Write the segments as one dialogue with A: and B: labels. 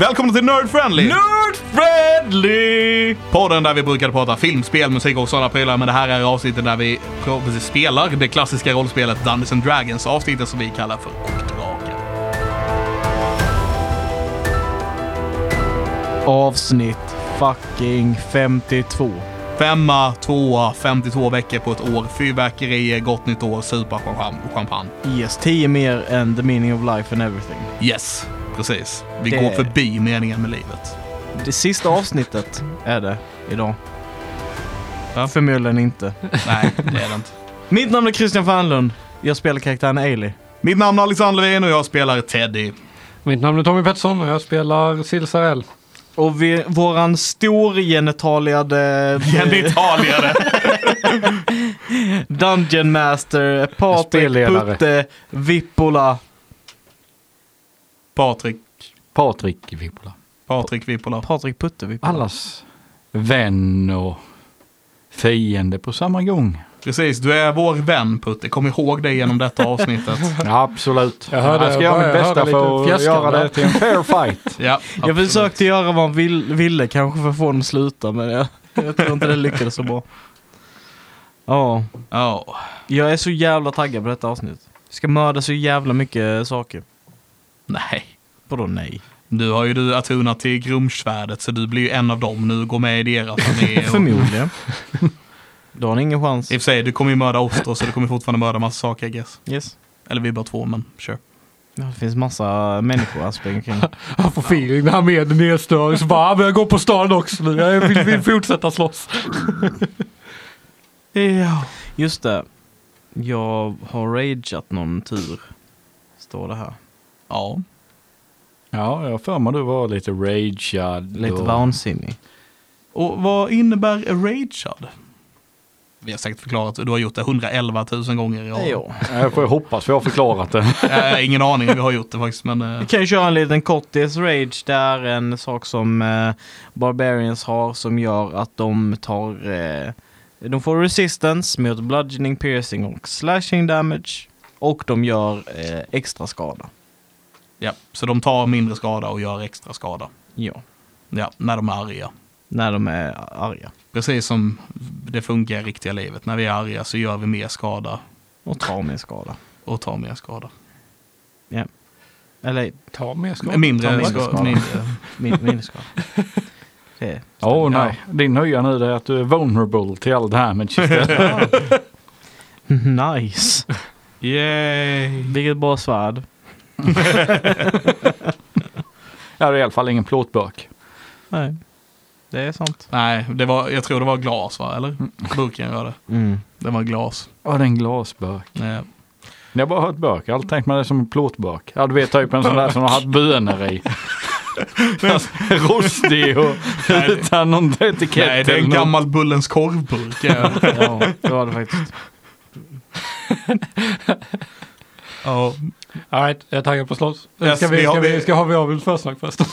A: Välkomna till Nerd Friendly!
B: Nerd friendly!
A: Podden där vi brukar prata film, spel, musik och sådana prylar. Men det här är avsnittet där vi precis spelar det klassiska rollspelet Dungeons and Dragons. Avsnittet som vi kallar för Kokdraken.
B: Avsnitt fucking 52.
A: Femma, tvåa, 52 veckor på ett år. Fyrverkerier, gott nytt år, supa champagne- champagne.
B: Yes, 10 mer än the meaning of life and everything.
A: Yes, precis. Vi
B: Det-
A: går förbi meningen med livet.
B: Det sista avsnittet är det idag.
A: Va?
B: Förmodligen inte.
A: Nej, det är det inte.
B: Mitt namn är Christian Fanlund. Jag spelar karaktären Ailey.
A: Mitt namn är Alexander Levin och jag spelar Teddy.
C: Mitt namn är Tommy Pettersson och jag spelar Silsarell.
B: Och vi, våran storgenitaliade
A: Genitaliare.
B: Dungeon Master, Patrik
C: Spelledare.
B: Putte Vippola.
A: Patrik.
C: Patrik Vippola.
A: Patrik Vippola.
B: Patrik Putte Vippola.
C: Allas vän och fiende på samma gång.
A: Precis, du är vår vän Putte. Kom ihåg det genom detta avsnittet.
D: Absolut. Jag,
C: hörde-
D: ska göra mitt
C: jag hörde
D: bästa för
C: lite
D: att
C: fjäskande.
D: göra det till en fair fight.
A: Ja,
B: Jag försökte göra vad han vill, ville kanske för att få honom att sluta men jag, jag tror inte det lyckades så bra. Ja,
A: Ja.
B: jag är så jävla taggad på detta avsnitt. Jag ska mörda så jävla mycket saker.
A: Nej.
B: Vadå nej?
A: Nu har ju du Atuna till Grumsvärdet så du blir ju en av dem nu. Gå med i deras armé. Och... I
B: Förmodligen. Då har ni ingen chans.
A: och för sig, du kommer ju mörda oss då så du kommer fortfarande mörda massa saker I guess.
B: Yes.
A: Eller vi är bara två men kör.
B: Ja, Det finns massa människor här springer omkring.
C: Han får feeling när han med är nedstörig så bara, "Ah, men jag går på stan också nu. Jag vill, vill fortsätta slåss.
B: Ja. Just det. Jag har rageat någon tur. Står det här.
A: Ja.
D: Ja, jag har för mig du var lite ragead.
B: Lite
D: och-
B: vansinnig.
A: Och vad innebär ragead? Vi har säkert förklarat, du har gjort det 111 000 gånger i år.
B: Ja.
D: Jag får hoppas vi har förklarat det.
A: Jag har ingen aning om vi har gjort det faktiskt men... eh,
B: Vi kan ju köra en liten kortis rage. Det är en sak som eh, Barbarians har som gör att de tar... Eh, de får resistance mot bludgeoning, piercing och slashing damage. Och de gör eh, extra skada.
A: Ja, så de tar mindre skada och gör extra skada.
B: Ja,
A: Ja, när de är arga.
B: när de är arga.
A: Precis som det funkar i riktiga livet. När vi är arga så gör vi mer skada
B: Och tar mer skada.
A: och tar mer skada.
B: Ja. Eller
C: Ta med skott.
B: tar
A: Mindre
B: mindre
A: skada.
B: skada.
A: Mindre.
B: min, min skada. Det.
D: Åh nej, din nya nu det är att du är vulnerable till all damage istället.
B: Nice!
A: Yay!
B: Vilket bra svärd.
D: Jag har i alla fall ingen plåtburk.
B: Nej, det är sant.
A: Nej, det var, jag tror det var glas va? Eller?
D: Mm.
A: Burken var det. Det var glas. Eh,
D: Ja, det är en glasburk.
A: Nej.
D: Jag har bara hört burk. Jag har alltid tänkt mig det som en plåtburk. Ja, du vet typ en sån där som har haft bönor i. Rostig och
A: Nej, det-
D: utan någon etikett.
A: Nej, det är en
D: eller något.
A: gammal Bullens korvburk. Ja.
B: Ja, det var det faktiskt.
A: ja.
C: All right, jag är taggad på att slåss.
A: Yes,
C: ska, vi,
A: vi har-
C: ska, vi,
A: vi-
C: ska har vi av ett försnack förresten?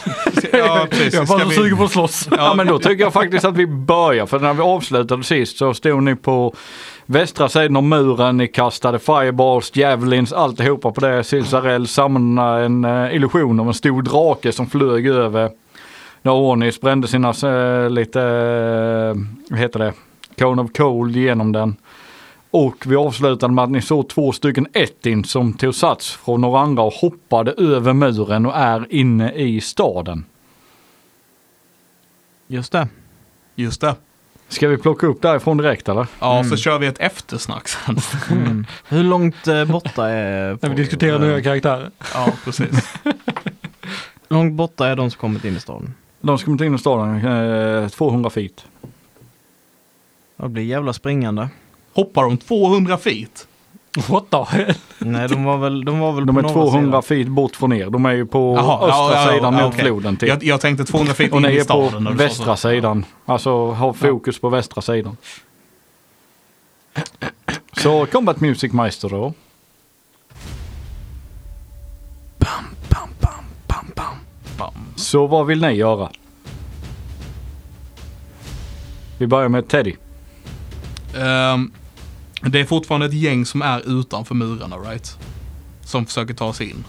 A: ja, precis.
C: jag är bara
A: Ska
C: så
A: vi-
C: sugen på att slåss.
D: Ja men då tycker jag faktiskt att vi börjar för när vi avslutade sist så stod ni på västra sidan av muren, ni kastade fireballs, javelins, alltihopa på det. Silsarell samlade en eh, illusion av en stor drake som flög över. När Ornis brände sina eh, lite, eh, vad heter det, cone of cold genom den. Och vi avslutade med att ni såg två stycken ettin som tog sats från några andra och hoppade över muren och är inne i staden.
B: Just det.
A: Just det.
D: Ska vi plocka upp därifrån direkt eller?
A: Ja, så kör vi ett eftersnack sen.
B: Mm. Hur långt eh, borta är... Eh,
C: När vi diskuterar nya karaktärer.
A: Ja, precis.
B: Hur långt borta är de som kommit in i staden?
D: De ska inte in i staden, eh, 200 feet.
B: Det blir jävla springande.
A: Hoppar de 200 feet?
C: What the hell?
B: Nej, de var väl, de var väl
D: De
B: på
D: är
B: norra
D: 200
B: sidan.
D: feet bort från er. De är ju på
A: Jaha,
D: östra
A: ja, ja,
D: sidan
A: ja,
D: mot
A: okej.
D: floden. Till.
A: Jag, jag tänkte 200 feet
D: och
A: in
D: ni
A: i
D: är
A: staden.
D: på
A: när du sa
D: västra
A: så.
D: sidan. Alltså har fokus på västra sidan. Så Combat Music Meister då.
A: Bam.
D: Så vad vill ni göra? Vi börjar med Teddy.
A: Eh. Ehm, det är fortfarande ett gäng som är utanför murarna, right? Som försöker ta sig in.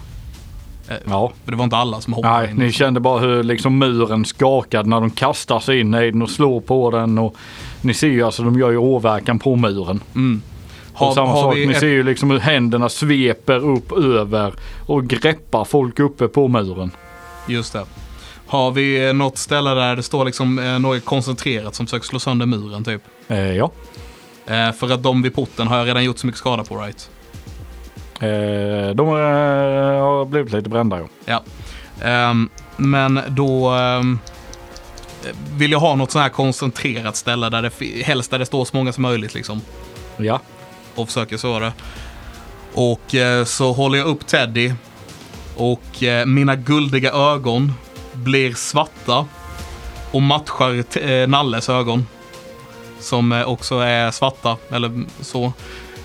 D: Ja.
A: För det var inte alla som hoppade
D: Nej,
A: in.
D: ni kände bara hur liksom muren skakade när de kastar sig in i den och slår på den. Och ni ser ju alltså de gör ju åverkan på muren.
A: Har-
D: och samma
A: har
D: sak,
A: vi
D: ni
A: ett-
D: ser ju liksom hur händerna sveper upp över och greppar folk uppe på muren.
A: Just det. Har vi eh, något ställe där det står liksom eh, något koncentrerat som försöker slå sönder muren typ?
D: Eh, ja.
A: Eh, för att de vid porten har jag redan gjort så mycket skada på, right?
D: Eh, de eh, har blivit lite brända ja.
A: Ja. Ehm, men då ehm, eh, vill jag ha något sånt här koncentrerat ställe där det fi- helst där det står så många som möjligt liksom
D: Ja.
A: och försöker svara. Och eh, så håller jag upp Teddy och eh, mina guldiga ögon blir svarta och matchar t- eh, Nalles ögon som eh, också är svarta eller mm, så.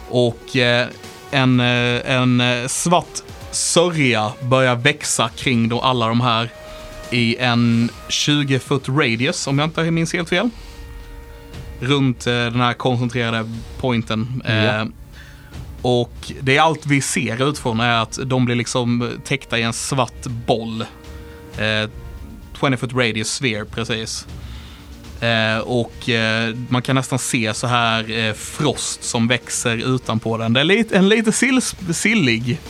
A: Och eh, en, eh, en eh, svart sörja börjar växa kring då alla de här i en 20 foot radius om jag inte minns helt fel. Runt eh, den här koncentrerade pointen. Eh, och det är allt vi ser utifrån är att de blir liksom täckta i en svart boll. Eh, 20 foot radius sphere precis. Eh, och eh, man kan nästan se så här eh, frost som växer utanpå den. Det är lite, en lite sill, sillig.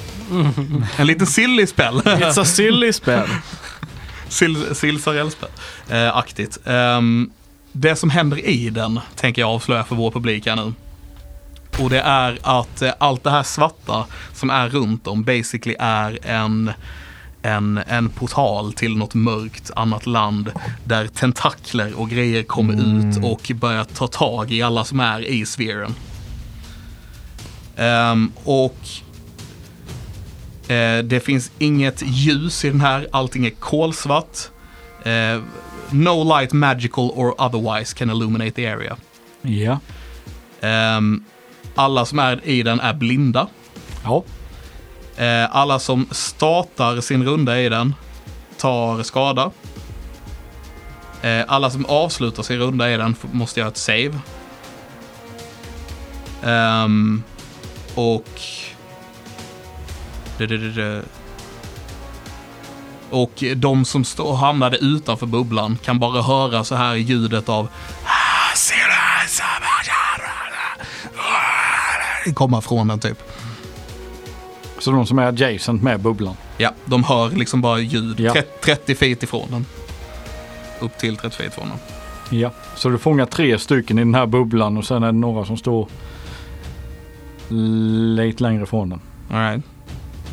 A: En liten sillig spell.
B: It's a silly spel.
A: Sil- Silsarellspel. Eh, aktigt. Ehm, det som händer i den tänker jag avslöja för vår publik här nu. Och det är att eh, allt det här svarta som är runt om basically är en, en, en portal till något mörkt annat land där tentakler och grejer kommer ut och börjar ta tag i alla som är i sfären. Ehm, och Eh, det finns inget ljus i den här, allting är kolsvart. Eh, no light magical or otherwise can illuminate the area.
D: Ja.
A: Ehm, alla som är i den är blinda.
D: Ja.
A: Eh, alla som startar sin runda i den tar skada. Eh, alla som avslutar sin runda i den f- måste göra ett save. Ehm, och... Du, du, du, du. Och de som stå, hamnade utanför bubblan kan bara höra så här ljudet av "Ah, Ah, komma från den typ.
D: Så de som är adjacent med bubblan.
A: Ja, de hör liksom bara ljud.
D: Ja.
A: Tre- 30 feet ifrån den. Upp till 30 feet ifrån den.
D: Ja. Så du fångar tre stycken i den här bubblan och sen är det några som står lite längre ifrån den.
A: All right.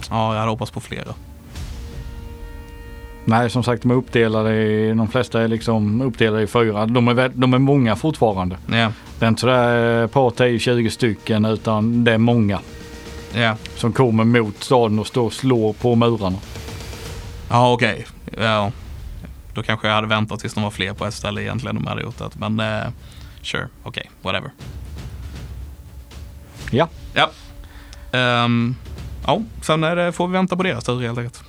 A: Ja, jag hade hoppats på flera.
D: Nej, som sagt de är uppdelade i, de flesta är liksom uppdelade i fyra. De är, vä- de är många fortfarande.
A: Ja,
D: Det är inte sådär ett par 10-20 stycken utan det är många
A: ja.
D: som kommer mot staden och står och slår på murarna.
A: Ja, okej. Ja. Då kanske jag hade väntat tills de var fler på ett ställe egentligen om jag hade gjort det. Men eh, sure, okej, whatever.
D: Ja,
A: Ja. Ehm, ja, sen är det, får vi vänta på deras tur helt enkelt.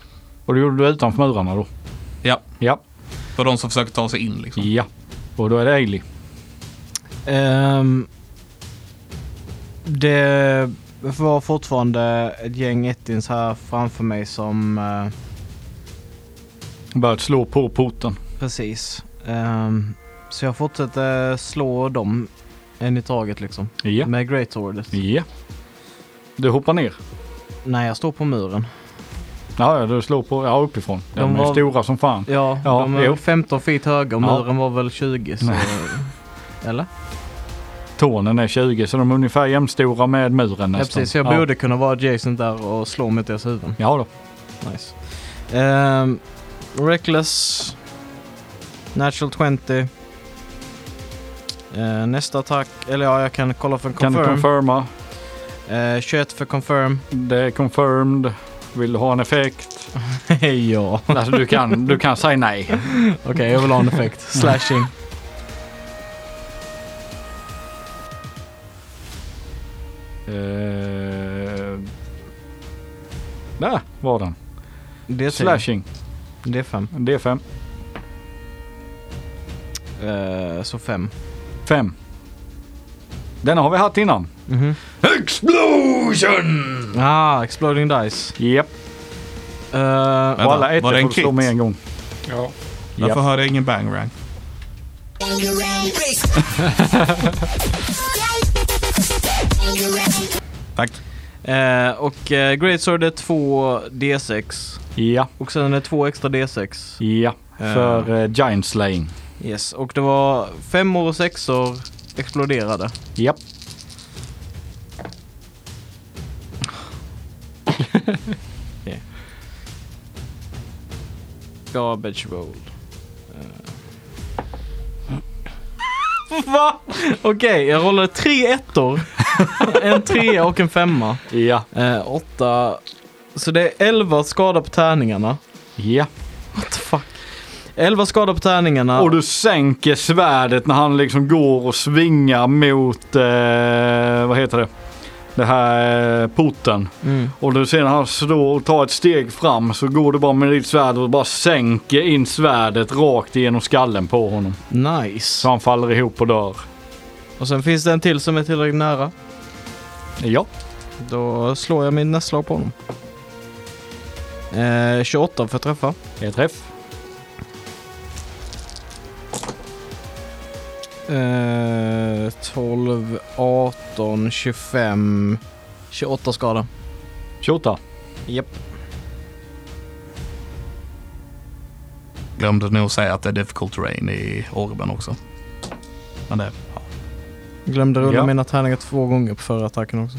D: och det gjorde du utanför murarna då?
A: Ja,
D: Ja,
A: för de som försöker ta sig in liksom.
D: ja. Och då är det Ailey.
B: Ehm, det var fortfarande ett gäng ettins här framför mig som... eh,
D: Börjat slå på porten.
B: precis. Ehm, så jag fortsätter slå dem en i taget liksom.
D: Ja.
B: Med Great Swordet.
D: Ja. Du hoppar ner.
B: Nej, jag står på muren.
D: Ja, ja, du slår på, ja uppifrån. De,
B: De
D: är
B: var-
D: stora som fan.
B: Ja,
D: Ja,
B: de är
D: jo.
B: 15 feet höga och
D: Ja.
B: muren var väl 20. Så, eller?
D: Tornen är 20 så de är ungefär jämnstora med muren
B: Ja,
D: nästan.
B: precis, så jag
D: ja.
B: borde kunna vara adjacent där och slå mot deras huvuden.
D: Ja då.
B: Nice. Ehm, reckless. Natural 20. Eh, nästa attack, eller ja, jag kan kolla för en
D: Kan du
B: confirm.
D: confirma?
B: Eh, 21 för confirm.
D: Det är confirmed. Vill du ha en effekt?
B: ja.
D: Alltså, du, kan, du kan säga nej.
B: Okej, jag vill ha en effekt. Slashing.
D: Eh, där var den.
B: Det är Slash.
D: Slashing.
B: Det är 5.
D: D5.
B: Ehm, så 5.
D: 5. Den har vi haft innan.
B: Mhm.
A: Explosion!
D: Mm.
B: Ah, exploding dice.
D: Japp.
B: Eh,
D: Och
A: Vänta,
D: alla
A: var
D: ettor
A: det en
D: får du slå
A: crit?
D: med en gång.
C: Ja.
A: Varför hörde jag ingen bang rang? Tack.
B: eh, och eh, Great Sword är 2 D6.
D: Ja,
B: Och sen är det 2 extra D6.
D: ja. För eh, Giant Slaying.
B: Yes, och det var femmor och sexor exploderade.
D: Japp.
B: Garbage roll. Eh. Va? Okej, jag rollade tre ettor. en trea och en femma.
D: Ja,
B: Eh, åtta. Så det är elva skada på tärningarna.
D: ja.
B: What the fuck? Elva skada på tärningarna.
D: Och du sänker svärdet när han liksom går och svingar mot, eh, vad heter det? Det här eh, porten.
B: Mm.
D: Och du ser när han står och tar ett steg fram så går du bara med ditt svärd och bara sänker in svärdet rakt igenom skallen på honom. Så
B: Nice.
D: han faller ihop och dör.
B: Och sen finns det en till som är tillräckligt nära.
D: Ja.
B: Då slår jag min nästslag på honom. Eh, 28 för att träffa.
D: Ett träff.
B: Eh, 12, 18, 25, 28 skada.
D: 28.
B: Japp.
A: Glömde nog säga att det är difficult terrain i orben också. Men det, ja.
B: Glömde rulla
D: Ja.
B: mina tärningar två gånger på förra attacken också.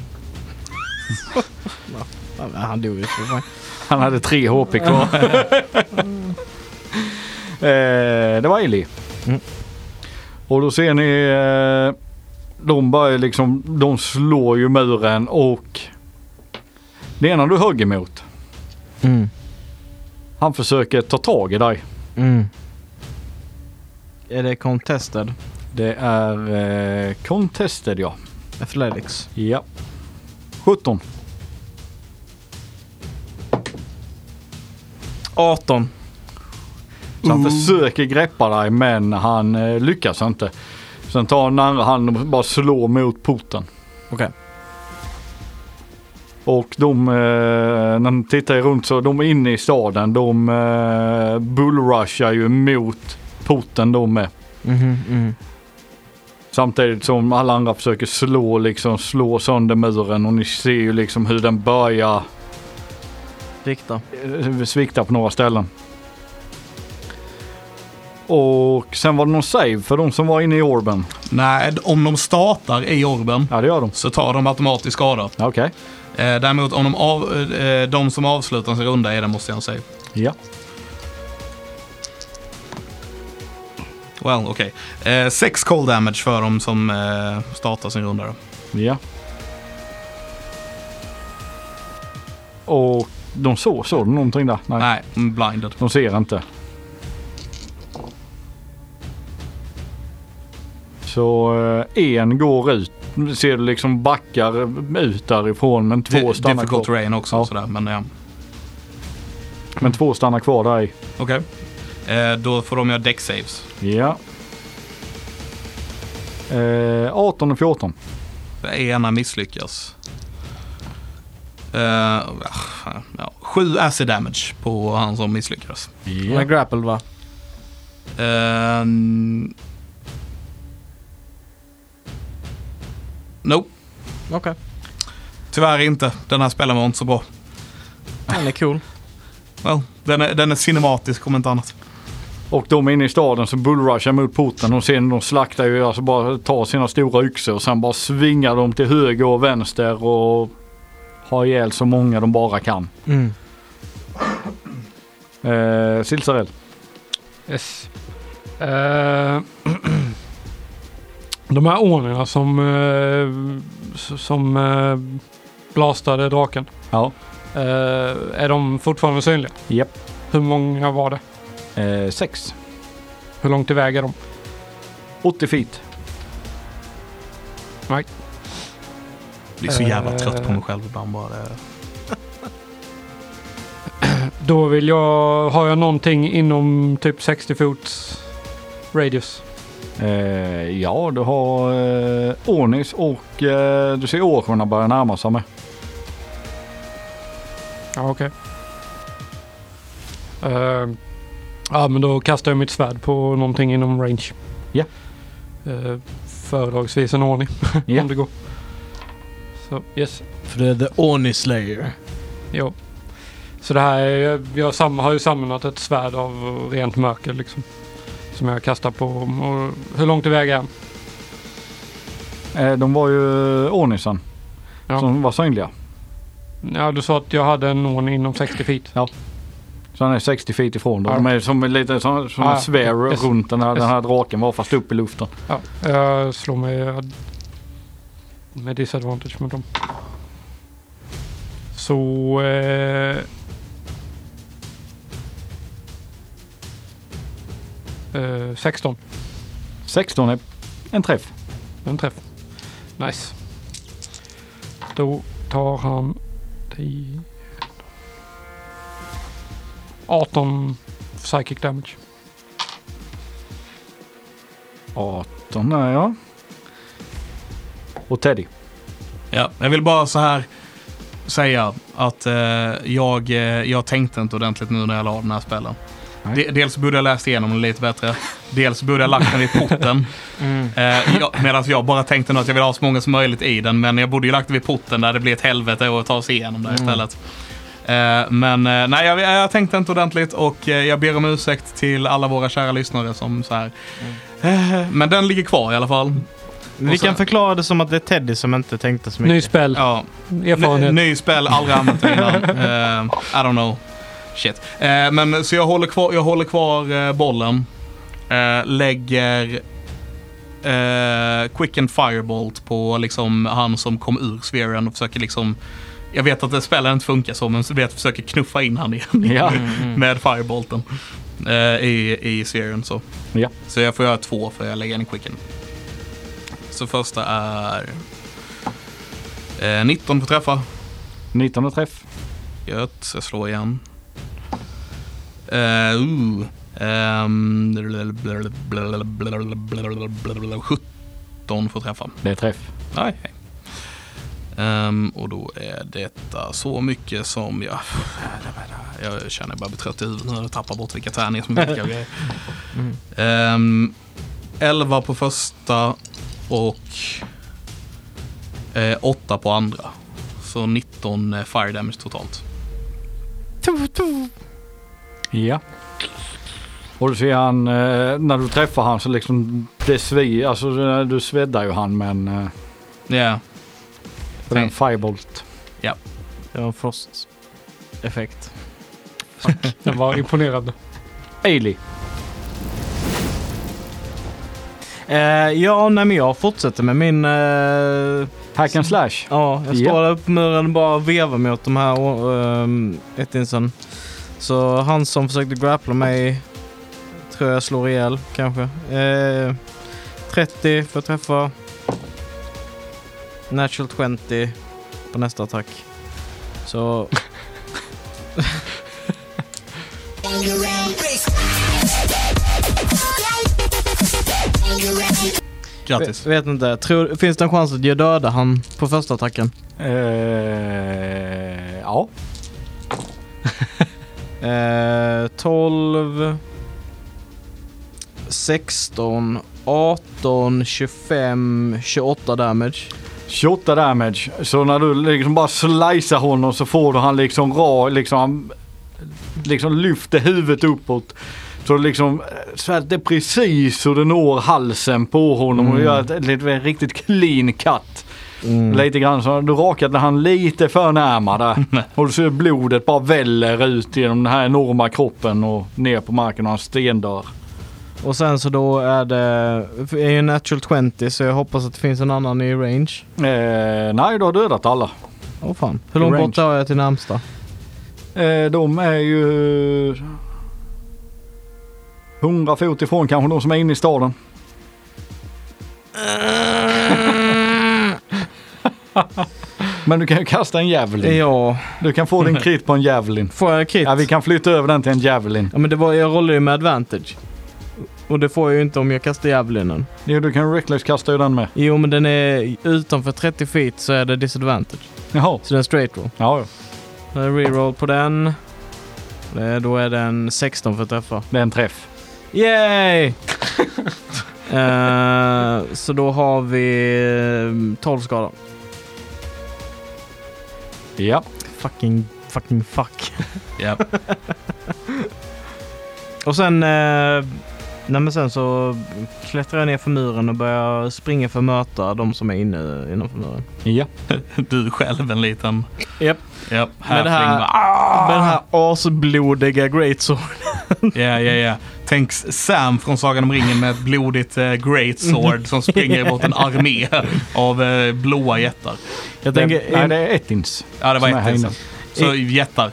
B: ja, men han dog ju. så fan.
D: Han hade tre HP kvar. eh, det var Eli.
B: Mm.
D: Och då ser ni, eh, de börjar liksom, de slår ju muren och det ena du högg emot,
B: Mm.
D: han försöker ta tag i dig.
B: Mm. Är det contested?
D: Det är eh, contested ja.
B: Athletics.
D: Ja. 17.
B: 18.
D: Så han försöker greppa dig men han eh, lyckas inte. Sen tar han andra handen och bara slår mot porten.
B: Okej.
D: Och de, eh, när de tittar runt så de är inne i staden. De eh, bullrushar ju mot porten de med.
B: Mhm, mhm.
D: Samtidigt som alla andra försöker slå, liksom, slå sönder muren och ni ser ju liksom hur den börjar
B: Rikta.
D: eh, svikta på några ställen. Och sen var det någon save för de som var inne i orben.
A: Nej, om de startar i orben
D: Ja det gör de.
A: så tar de automatiskt skada.
D: Ja, Okej.
A: Eh, däremot om de, av, eh, de som avslutar sin runda är det måste jag säga.
D: Ja.
A: Well, okej. Eh, sex cold damage för de som eh, startar sin runda då.
D: Ja. Och de såg, såg de någonting där? Nej.
A: Nej, mm, blinded.
D: De ser inte. Så eh, en går ut. Ser du liksom backar ut därifrån men två,
A: Di-
D: stannar,
A: difficult
D: kvar.
A: terrain också
D: Ja.
A: sådär, men ja.
D: men två stannar kvar där i.
A: Okej. Eh, då får de göra deck saves.
D: Ja. Eh, 18 och 14.
A: Det ena misslyckas. Eh, ah, fan, ja. Sju acid damage på han som misslyckades.
B: Han är
D: Ja.
B: grappled va?
A: Eh, n- nope,
B: Okej.
A: tyvärr inte. Den här spelaren var inte så bra.
B: Han är cool.
A: Well, den, är, den är cinematisk om inte annat.
D: Och de inne i staden så bullrushar mot porten och sen de slaktar ju, alltså bara tar sina stora yxor och sen bara svingar de till höger och vänster och har ihjäl så många de bara kan.
B: Mm.
D: Eh, Silsarell.
C: Yes. Eh, de här ånerna som, eh, s- som eh, blastade draken.
D: Ja.
C: eh, är de fortfarande synliga?
D: Japp.
C: Hur många var det?
D: Eh, sex.
C: Hur långt iväg är de?
D: 80 feet.
A: Jag blir så jävla
C: Eh.
A: trött på mig själv ibland bara. Det.
C: Då vill jag... Har jag någonting inom typ 60 fots radius?
D: Eh, ja, du har eh, Ornis och eh, du ser Åsjorna börjar närma sig med.
C: Ja, okej. Eh, ja, men då kastar jag mitt svärd på någonting inom range.
D: Ja.
C: Eh, föredragsvis en ordning
D: Ja.
C: om det går. Så yes.
B: För det är The Orny Slayer.
C: Jo. Så det här är, jag, jag sam, har ju samlat ett svärd av rent mörker liksom. Som jag kastar på. Och hur långt iväg är han?
D: Eh, De var ju ordningsen
C: Ja.
D: som var synliga.
C: Ja, du sa att jag hade en ordning inom 60 feet.
D: Så han är 60 feet ifrån dem.
C: Ja.
D: De är som en liten som, som
C: Ja.
D: en sfär
C: Yes.
D: runt den här,
C: Yes.
D: den här draken var fast upp i luften.
C: Ja, jag slår med, med disadvantage mot dem. Så... Eh, eh, 16.
D: 16 är en träff.
C: En träff. Nice. Då tar han... 10, 18 psychic damage.
D: 18 är ja. Och Teddy.
A: Ja, jag vill bara så här säga att eh, jag, eh, jag tänkte inte ordentligt nu när jag la den här spelen.
D: Nej.
A: De, dels borde jag läst igenom den lite bättre. Dels borde jag lagt den i porten. Eh, jag, Medan jag bara tänkte nog att jag vill ha så många som möjligt i den. Men jag borde ju lagt den vid porten där det blir ett helvete att ta sig igenom där istället. Eh, men eh, nej, jag, jag tänkte inte ordentligt och eh, jag ber om ursäkt till alla våra kära lyssnare som så här. Eh, men den ligger kvar i alla fall.
B: Vi
A: Och så-
B: kan förklara det som att det är Teddy som inte tänkte så mycket.
C: Ny spel,
A: Ja. Ny,
C: erfarenhet.
A: ny spel, aldrig använt det innan. Eh, I don't know. Shit. Eh, men så jag håller kvar, jag håller kvar eh, bollen. Eh, lägger eh, quick and firebolt på liksom han som kom ur sfären och försöker liksom jag vet att det spelen inte funkar så, men så vet jag försöker knuffa in han igen
D: Ja.
A: med firebolten eh, i, i serien. Så.
D: Ja.
A: så jag får göra två för jag lägger in i quicken. Så första är eh, 19 för träffa.
D: 19 är träff.
A: Gött, så jag slår igen. Eh, ooh. Ehm, 17 för träffa.
D: Det är träff.
A: Aj, hej. Ehm, och då är detta så mycket som jag... Jag känner jag bara blir trött i huvudet nu och tappar bort vilka tärningar som är vilka och grejer. Ehm, 11 på första och eh, 8 på andra. Så 19 eh, fire damage totalt.
D: Ja. Och du ser han, eh, när du träffar han så liksom det svider, alltså eh, du sveddar ju han men eh,
A: Ja,
D: för den
A: Nej.
D: firebolt.
B: Det var en frosteffekt.
C: Den var imponerande.
D: Ailey.
B: Eh, ja, nej men jag fortsätter med min... Eh,
D: Hack and slash.
B: ja, jag
D: Ja.
B: står där uppe på muren och bara vevar mot de här uh, ettinsen. Så han som försökte grappla mig tror jag slår ihjäl kanske. Eh, 30 för att träffa. Natural 20 på nästa attack. Så
A: grattis.
B: Jag vet inte. Tror, finns det en chans att jag dödar han på första attacken?
D: Eh, ja.
B: Eh, 12... 16, 18, 25, 28 damage.
D: 28 damage. Så när du liksom bara slicear honom så får du han liksom ra, liksom han liksom lyfter huvudet uppåt. Så liksom eh, så att det är precis så det når halsen på honom och
B: Mm.
D: gör ett, ett, ett, ett riktigt clean cut.
B: Mm.
D: Lite grann så du rakade han lite för närmare där. och du ser blodet bara väller ut genom den här enorma kroppen och ner på marken och han stendör.
B: Och sen så då är det... för Jag är ju natural 20 så jag hoppas att det finns en annan i range.
D: Eh, nej, du har dödat alla.
B: Åh fan. Hur långt
D: Range.
B: bort har jag till närmsta?
D: Eh, de är ju 100 fot ifrån kanske de som är inne i staden. Men du kan ju kasta en javelin.
B: Ja,
D: Du kan få din krit på en javelin.
B: får jag kit?
D: Ja, vi kan flytta över den till en javelin.
B: Ja men det var, jag rollade ju med advantage. Och det får jag ju inte om jag kastar javelinen.
D: Jo, du kan reckless kasta ju den med.
B: Jo men den är utanför 30 feet så är det disadvantage.
D: Jaha.
B: Så den är straight roll.
D: Ja, ja.
B: Det är Reroll på den. Det, då är det en 16 för att träffa.
D: Det är en träff.
B: Yay! Eh, så då har vi eh, 12 skada.
D: Ja.
B: Fucking, fucking fuck.
A: Ja.
B: Och sen, eh, nej men sen så klättrar jag ner för muren och börjar springa för att möta de som är inne innanför muren.
D: Ja.
A: Du själv en liten...
D: Japp.
A: Japp.
B: Men det här-
A: halfling bara, "Ah!"
B: Med den här asblodiga greatsword.
A: Ja, ja, ja. Tänk Sam från Sagan om ringen med ett blodigt eh, great
B: Mhm.
A: sword som springer mot en armé av eh, blåa jättar.
B: Jag
D: Det,
B: tänker
D: nej,
B: in,
D: det är ett ins.
A: Ja, det var
D: Som är här
A: ett
D: inne.
A: sen. Så jättar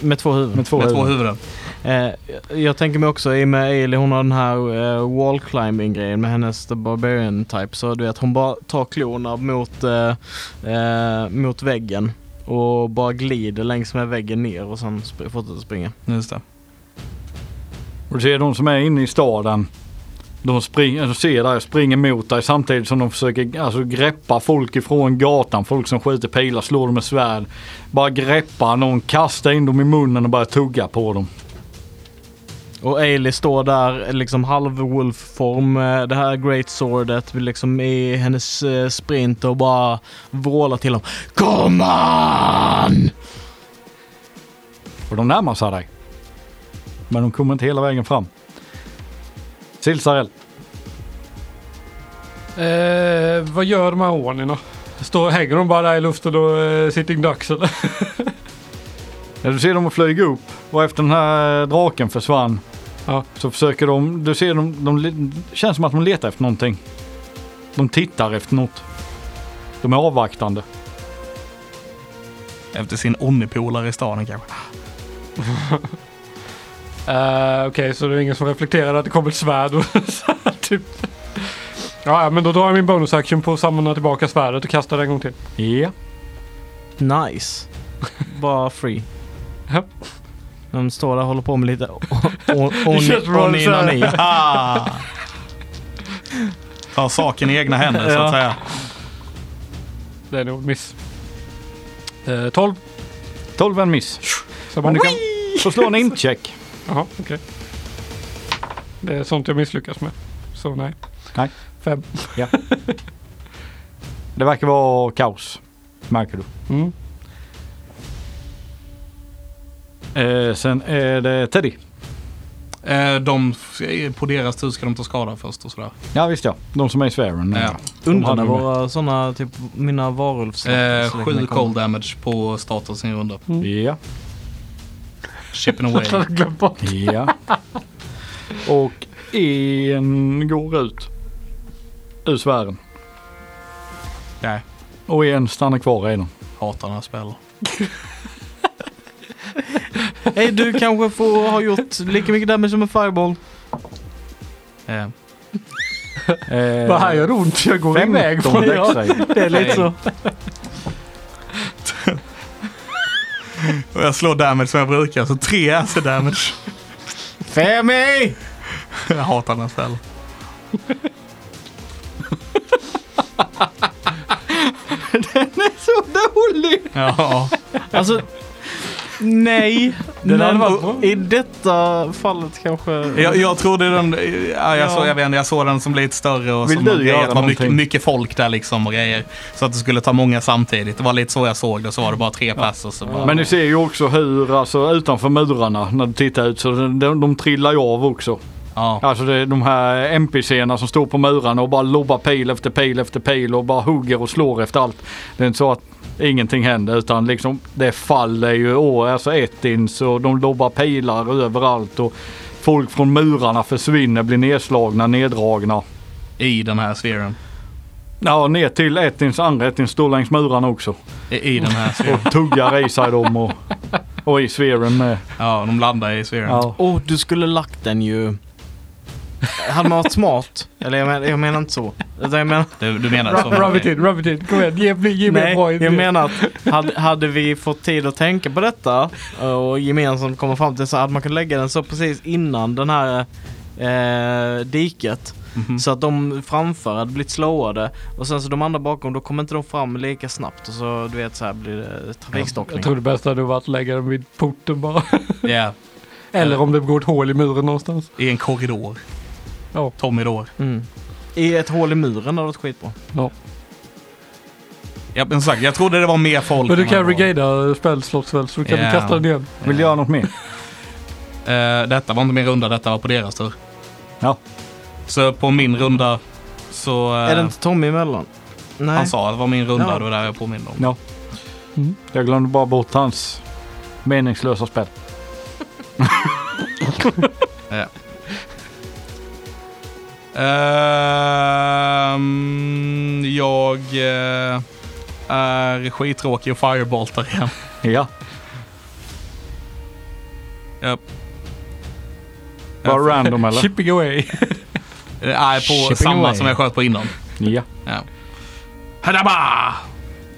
B: med två huvuden.
D: Med två,
A: med två
D: huvuden.
A: huvuden.
B: Eh, jag tänker mig också i och med Ailey, hon har den här eh, wall climbing grejen med hennes The Barbarian type. Så du vet, hon bara tar klorna mot, eh, eh, mot väggen och bara glider längs med väggen ner och sen sp- fortsätter springa.
A: Just det.
D: Och du ser de som är inne i staden. De springer, du ser där, springer mot dig samtidigt som de försöker alltså, greppa folk ifrån gatan. Folk som skjuter pilar, slår dem med svärd. Bara greppa någon, kasta in dem i munnen och börja tugga på dem.
B: Och Ailey står där liksom halv wolf-form, eh, det här great swordet liksom i hennes eh, sprint och bara vrålar till dem. Kom on!
D: Och de närmar sig dig. Men de kommer inte hela vägen fram. Silsarell.
C: Eh, vad gör de här ånierna? Står, hänger de bara där i luften och eh, sitting ducks eller?
D: Ja, du ser dem flyga upp och efter den här eh, draken försvann
C: Ja.
D: så försöker de, du ser dem, de, le- känns som att de letar efter någonting. De tittar efter något. De är avvaktande.
A: Efter sin onnepolare i staden kanske.
C: Eh, Okej, så det är ingen som reflekterar att det kommer ett svärd och så här, typ. Ja, ja, men då drar jag min bonus action på att samla tillbaka svärdet och kasta det en gång till.
D: Ja.
B: Nice. Bara free.
C: Ja.
B: De står där och håller på med lite o- o-
C: känns
B: oni-
C: bra, så här.
B: oninani.
A: Ah! Ta saken i egna händer så
B: Ja.
A: att säga.
C: Det är nog miss. Eh, 12.
D: 12 är en miss.
C: Så
D: Men
C: man
D: du
C: kan...
D: kan få slå en incheck.
C: Jaha, okej. Det är sånt jag misslyckas med. Så nej.
D: Nej.
C: Fem.
D: Det verkar vara kaos. Märker du.
C: Mm.
D: Eh, sen är det Teddy.
A: Eh, De, på deras tur ska de ta skada först och sådär.
D: Ja visst ja. De som är i sfären.
B: Mm.
A: Ja.
B: Undrar när
D: De hade
B: våra sådana, typ mina varulvs...
A: Eh,
B: så
A: Sju
B: länge kommer.
A: cold damage på statusen i runda.
C: Mm.
D: Ja.
A: Chipping away.
C: Jag hade glömt bort.
D: Ja. Och en går ut. Ur sfären.
A: Nej,
D: Och en stannar kvar i den.
A: hatar den här spelen.
B: Hej, du kanske får ha gjort lika mycket damage som en fireball.
A: Eh,
D: Eh,
C: Det här gör ont. Jag går iväg från det.
D: ja.
B: Det är lite så.
A: Och jag slår damage som jag brukar, så tre acid damage.
B: Femi!
A: Jag hatar den här spelen.
B: Så dålig!
A: Ja,
B: Alltså, nej.
C: Den hade
B: men
C: varit bra.
B: i detta fallet kanske...
A: jag, jag trodde den... Ja, jag, såg, jag, vet, inte, jag såg den som lite större och
D: Vill
A: som
D: du
A: och grejer,
D: göra
A: att det var mycket,
D: någonting?
A: mycket folk där liksom och grejer. Så att det skulle ta många samtidigt. Det var lite så jag såg det, så var det bara tre pass och så bara...
D: Men ni ser ju också hur, alltså utanför murarna när du tittar ut så de, de, de trillar ju av också.
A: Ja,
D: Alltså det är de här NPCerna som står på murarna och bara lobbar pil efter pil efter pil och bara hugger och slår efter allt. Det är inte så att ingenting händer utan liksom det faller ju år, alltså ett in så de lobbar pilar överallt och folk från murarna försvinner, blir nedslagna, neddragna.
A: i den här sfären.
D: Ja, ner till Ettins, andra Ettins står längs murarna också.
A: I, i den här sfären.
D: Och tuggar i sig dem och, och i sfären med.
A: Ja, de landar i sfären.
D: Ja.
B: Åh, Oh, du skulle lagt den ju... Hade man varit smart? Eller jag, men, jag menar inte så. Utan jag menar,
A: Du, du menar så?
C: Rub it in, rub it in. Kom igen, ge mig, ge mig en
B: Alltså, nej,
C: bra idé.
B: jag menar att hade, hade vi fått tid att tänka på detta eh, och gemensamt komma fram till så hade man kunnat lägga den så precis innan den här eh, diket.
A: Mhm.
B: Så att de framför hade blivit slowade och sen så de andra bakom då kommer inte de fram lika snabbt och så du vet så här blir det
C: Jag
B: trafikstockning.
C: tror det bästa hade varit att lägga dem vid porten bara.
A: Ja.
C: Eller om det går ett hål i muren någonstans.
A: I en korridor.
C: Ja.
A: Tomridor.
B: Mm. I ett hål i muren hade varit skitbra.
C: Ja.
A: Ja, men som sagt, jag trodde det var mer folk.
C: Men du
A: än vad
C: kan
A: det var.
C: regada spelslott väl så du kan
A: Ja.
C: du kasta den igen.
D: Vill du göra något mer?
A: Eh, detta var inte min runda, detta var på deras tur.
D: Ja.
A: Så på min runda så... eh,
B: Är det inte Tommy emellan? Nej.
A: Han sa att det var min runda,
B: Ja.
A: det var där jag påminner om.
D: Ja. Jag glömde bara bort hans meningslösa spel.
A: Ehm, jag eh, är skittråkig och fireboltar igen.
D: Ja,
A: Japp.
D: bara random eller?
C: Chipping away.
A: Eh, Nej, på
D: Shipping
A: samma
D: away.
A: som jag sköt på innan.
D: Ja.
A: Ja. Hadaba!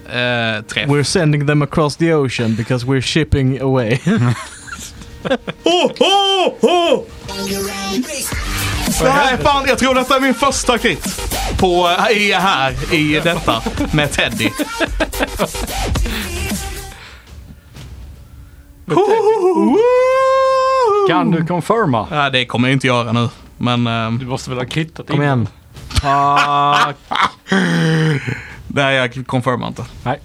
A: Eh, träff.
B: We're sending them across the ocean because we're shipping away.
A: Det här är fan, jag tror detta är min första krit. På, i, här, i detta, med Teddy.
D: Kan du confirma?
A: Nej, det kommer jag inte göra nu. Men
C: Du
A: eh,
C: måste väl ha kittat
B: Kom igen. Fuck.
A: nej, jag confirmar inte.
D: Nej.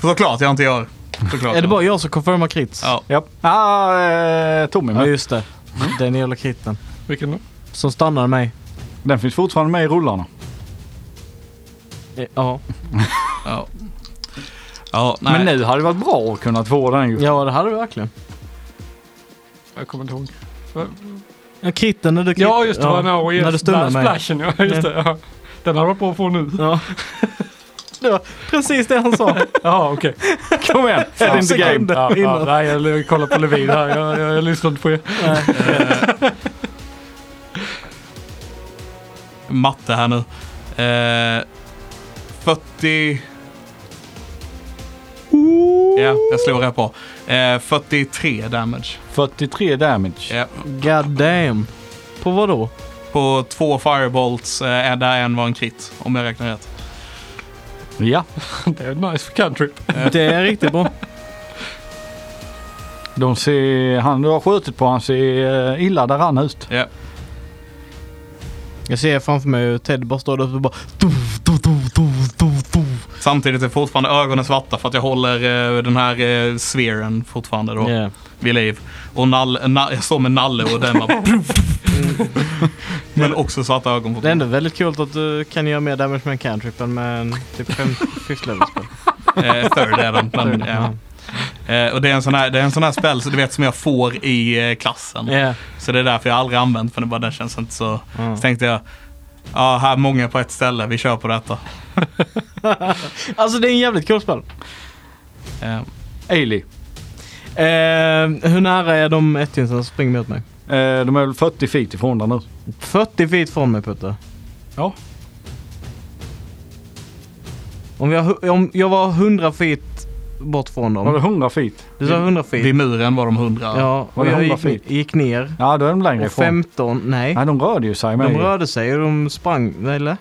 A: Såklart jag inte gör. Såklart
B: Är det
A: jag-
B: bara jag som confirmar krits?
A: Ja.
D: Ja. Ah, eh, Tommy
B: Ja,
D: men
B: just det. Den jävla kritten.
C: Vilken då?
B: Som stannade mig.
D: Den finns fortfarande med i rullarna.
B: Ja.
A: Ja. Ja, nej.
D: Men nu hade det varit bra att kunna få den ju.
B: ja, det hade du verkligen.
C: Jag kommer inte ihåg.
B: Ja, kritten när du
C: Ja just det, ja.
B: ja.
C: No, yes.
B: När du stunnade
C: Där,
B: mig.
C: Splashen ja, just det. Ja. Den hade varit bra att få nu.
B: Ja. Det var precis det han sa.
C: Jaha okej.
D: Kom igen, head in the game.
B: sekunder
C: Ja, ja,
B: innan.
C: nej jag kollar på Levin här. Jag, jag, jag lyssnade inte på er.
A: matte här nu. Eh, 40... Ja, jag slår rätt bra. Eh, 43 damage.
D: 43 damage.
A: Ja.
B: God damn. På vad då?
A: På två firebolts, eh, där en var en crit, om jag räknar rätt.
D: Ja,
C: Det är nice för country.
B: Det är riktigt bra.
D: de ser, han du har skjutit på han ser eh, illa däran ut.
A: Ja.
B: Jag ser framför mig hur Ted bara står där uppe och bara... Tuff, tuff, tuff, tuff, tuff, tuff.
A: Samtidigt är fortfarande ögonen svarta för att jag håller eh, den här eh, sfären fortfarande då,
B: Yeah.
A: vid liv. Och nall, na, jag står med Nalle och den bara... Men också svarta ögon
B: Det är
A: fortfarande.
B: ändå väldigt kul att du kan göra mer damage med en cantrip än med en typ fem- fifth level spel.
A: Eh, third är den. men, ja. Eh, och det är en sån här, det är en sån här spel så du vet, som jag får i eh, klassen.
B: Ja.
A: Så det är därför jag aldrig använt för det bara, den känns inte så...
B: Ja.
A: Så tänkte jag, ja här är många på ett ställe, vi kör på detta.
B: Alltså det är en jävligt kul spel.
A: Eh,
D: Ailey,
B: Eh, hur nära är de ettinsen som springer mot mig?
D: eh, de är väl 40 feet ifrån där nu.
B: 40 feet från mig Putte.
D: Ja.
B: Om jag, hu- om jag var 100 feet bort från
D: Var det
B: dem.
D: 100 feet?
B: Du sa 100 feet.
A: vid muren var de hundra.
B: Ja,
D: var
B: och
D: det
B: jag
D: 100
B: gick,
D: feet?
B: gick ner.
D: Ja, då är de längre
B: Och
D: ifrån.
B: 15, nej.
D: Nej, de rörde ju sig med.
B: De rörde sig och de sprang, eller?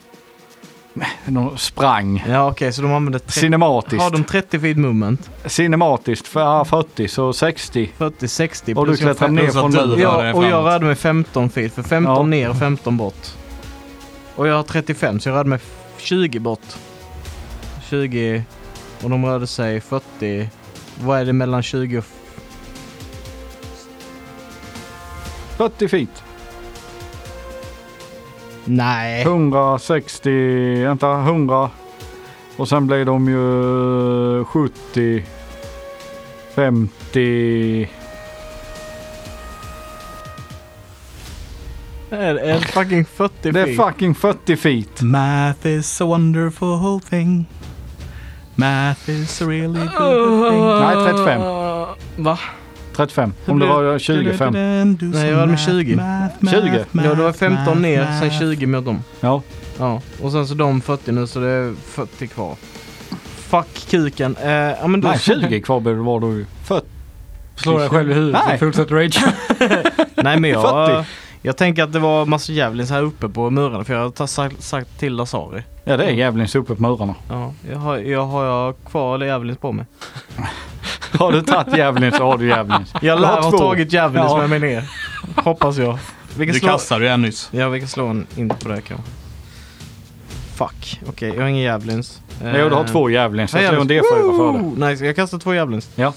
D: De sprang.
B: Ja okej, så de använde 30,
D: Cinematiskt.
B: har de 30 feet movement.
D: Cinematiskt för ja, 40 så 60.
B: 40, 60.
D: Och du
B: plus jag
D: klättrar
B: fem-
D: ner
A: plus att
D: från
A: du-
D: muren.
A: rör dig
B: Ja, och jag
A: framåt.
B: rörde mig 15 feet. För 15
D: Ja.
B: ner, 15 bort. Och jag har 35 så jag rörde mig 20 bort. 20 och de rörde sig 40. Vad är det mellan 20 och... f-
D: 40 feet.
B: Nej.
D: 160, vänta, 100. Och sen blir de ju 70, 50.
B: Det är, är fucking 40
D: Det är
B: feet.
D: fucking 40 feet.
A: Math is a wonderful thing. Math is a really good thing.
D: Nej, 35.
B: Va?
D: 35.
B: Hur
D: Om det
B: blir-
D: var 25.
B: Nej, jag hade med 20.
D: 20?
B: Ja, det var 15 ner, sen 20 mot dem.
D: Ja.
B: Ja, och sen så de 40 nu så det är 40 kvar. Fuck kuken. Eh, ja, men då
D: Nej, 20 kvar borde det vara då ju. 40.
C: Slår dig själv i huvudet
D: Nej.
C: och fortsätter rage.
B: Nej men jag,
D: 40.
B: jag tänker att det var massa jävlins här uppe på murarna för jag har ta- sagt, sagt till Lazari.
D: Ja, det är jävligt uppe på murarna.
B: Ja, jag har, jag har jag kvar alla jävlins på mig.
D: Har du tagit djävulen så har du djävulen.
B: Jag lär ha
D: två.
B: tagit Javelins
D: Ja.
B: med mig ner. Hoppas jag. Vilken
A: Du
B: slå...
A: kastade ju en nyss.
B: Ja, vi kan slå en inte på det här kanske. Fuck. Okej, jag har ingen Javelins.
D: Nej, Jo, du har två djävulen så
B: Nej,
D: Eh, jag slår en
B: jävlar.
D: D4 för det.
B: Woo! Nice, jag kastar två Javelins.
D: Ja.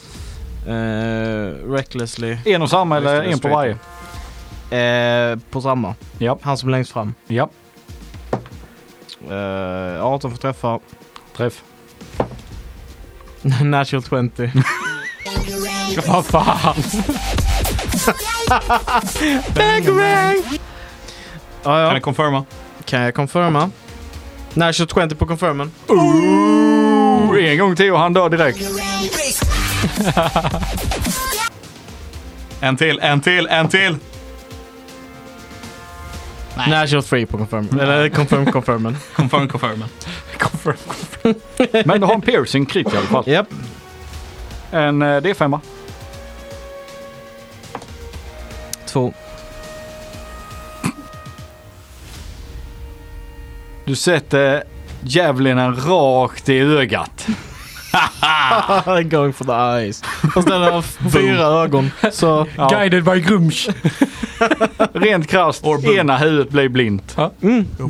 B: Eh, recklessly.
D: En och samma
B: Just
D: eller
B: det,
D: en på
B: straight.
D: varje?
B: Eh, på samma.
D: Ja.
B: Han som är längst fram.
D: Ja,
B: Eh, 18 får träffa.
D: träff.
B: Natural 20.
C: Vad fan!
B: Ah,
A: Kan
B: ja.
A: jag confirma?
B: Kan jag confirma? Natural 20 på confirmen.
D: Oh, en gång till och han dör direkt.
A: En till, en till, en till!
B: Natural 3 på confirmen. Eller confirm confirmen.
A: Confirm, confirmen.
D: Men du har en piercing crit i alla fall.
B: Japp.
D: En eh, D5.
B: Två.
D: Du sätter djävulen rakt i ögat.
B: Going for the eyes. Fast den har fyra ögon. Så
D: Ja.
C: Guided by Grumsh.
D: Rent krasst, ena huvudet blir blint.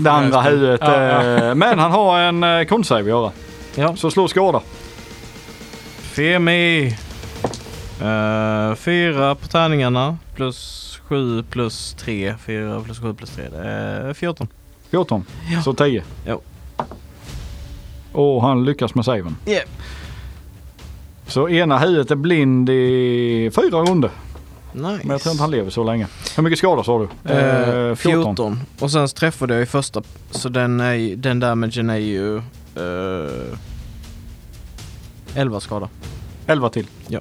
D: Det andra huvudet...
C: Ja, ja.
D: eh, Men han har en eh, konstsave att göra.
B: ja.
D: Så slå skada.
B: Femi. Eh, fyra på tärningarna. Plus sju plus tre. Fyra plus sju plus tre. Det är 14.
D: 14. Så 10.
B: Jo.
D: Och han lyckas med saven.
B: Yeah.
D: Så ena huvudet är blind i fyra runder.
B: Nice.
D: Men jag tror inte han lever så länge. Hur mycket skada sa du?
B: Eh,
D: Eh,
B: 14. Och sen träffade jag i första, så den, är, ju- den damagen är ju... Eh, 11 skada.
D: 11 till.
B: Ja.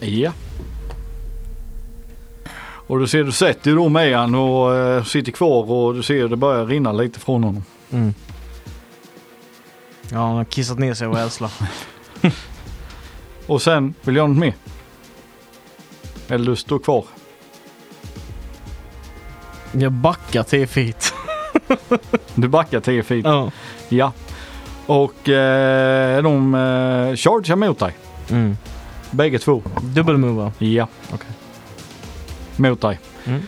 D: Ja. Och du ser, du sätter ju då med han och eh, sitter kvar och du ser det börjar rinna lite från honom.
B: Ja, han har kissat ner sig av rädsla.
D: Och sen, vill du göra något mer? Eller du står kvar?
B: jag backar 10 feet.
D: Du backar 10 feet.
B: Ja.
D: Ja. Och eh, de eh, chargear mot dig.
B: Mm.
D: Bägge två.
B: Dubbelmover.
D: Ja.
B: Okej.
D: Mot dig.
B: Mm.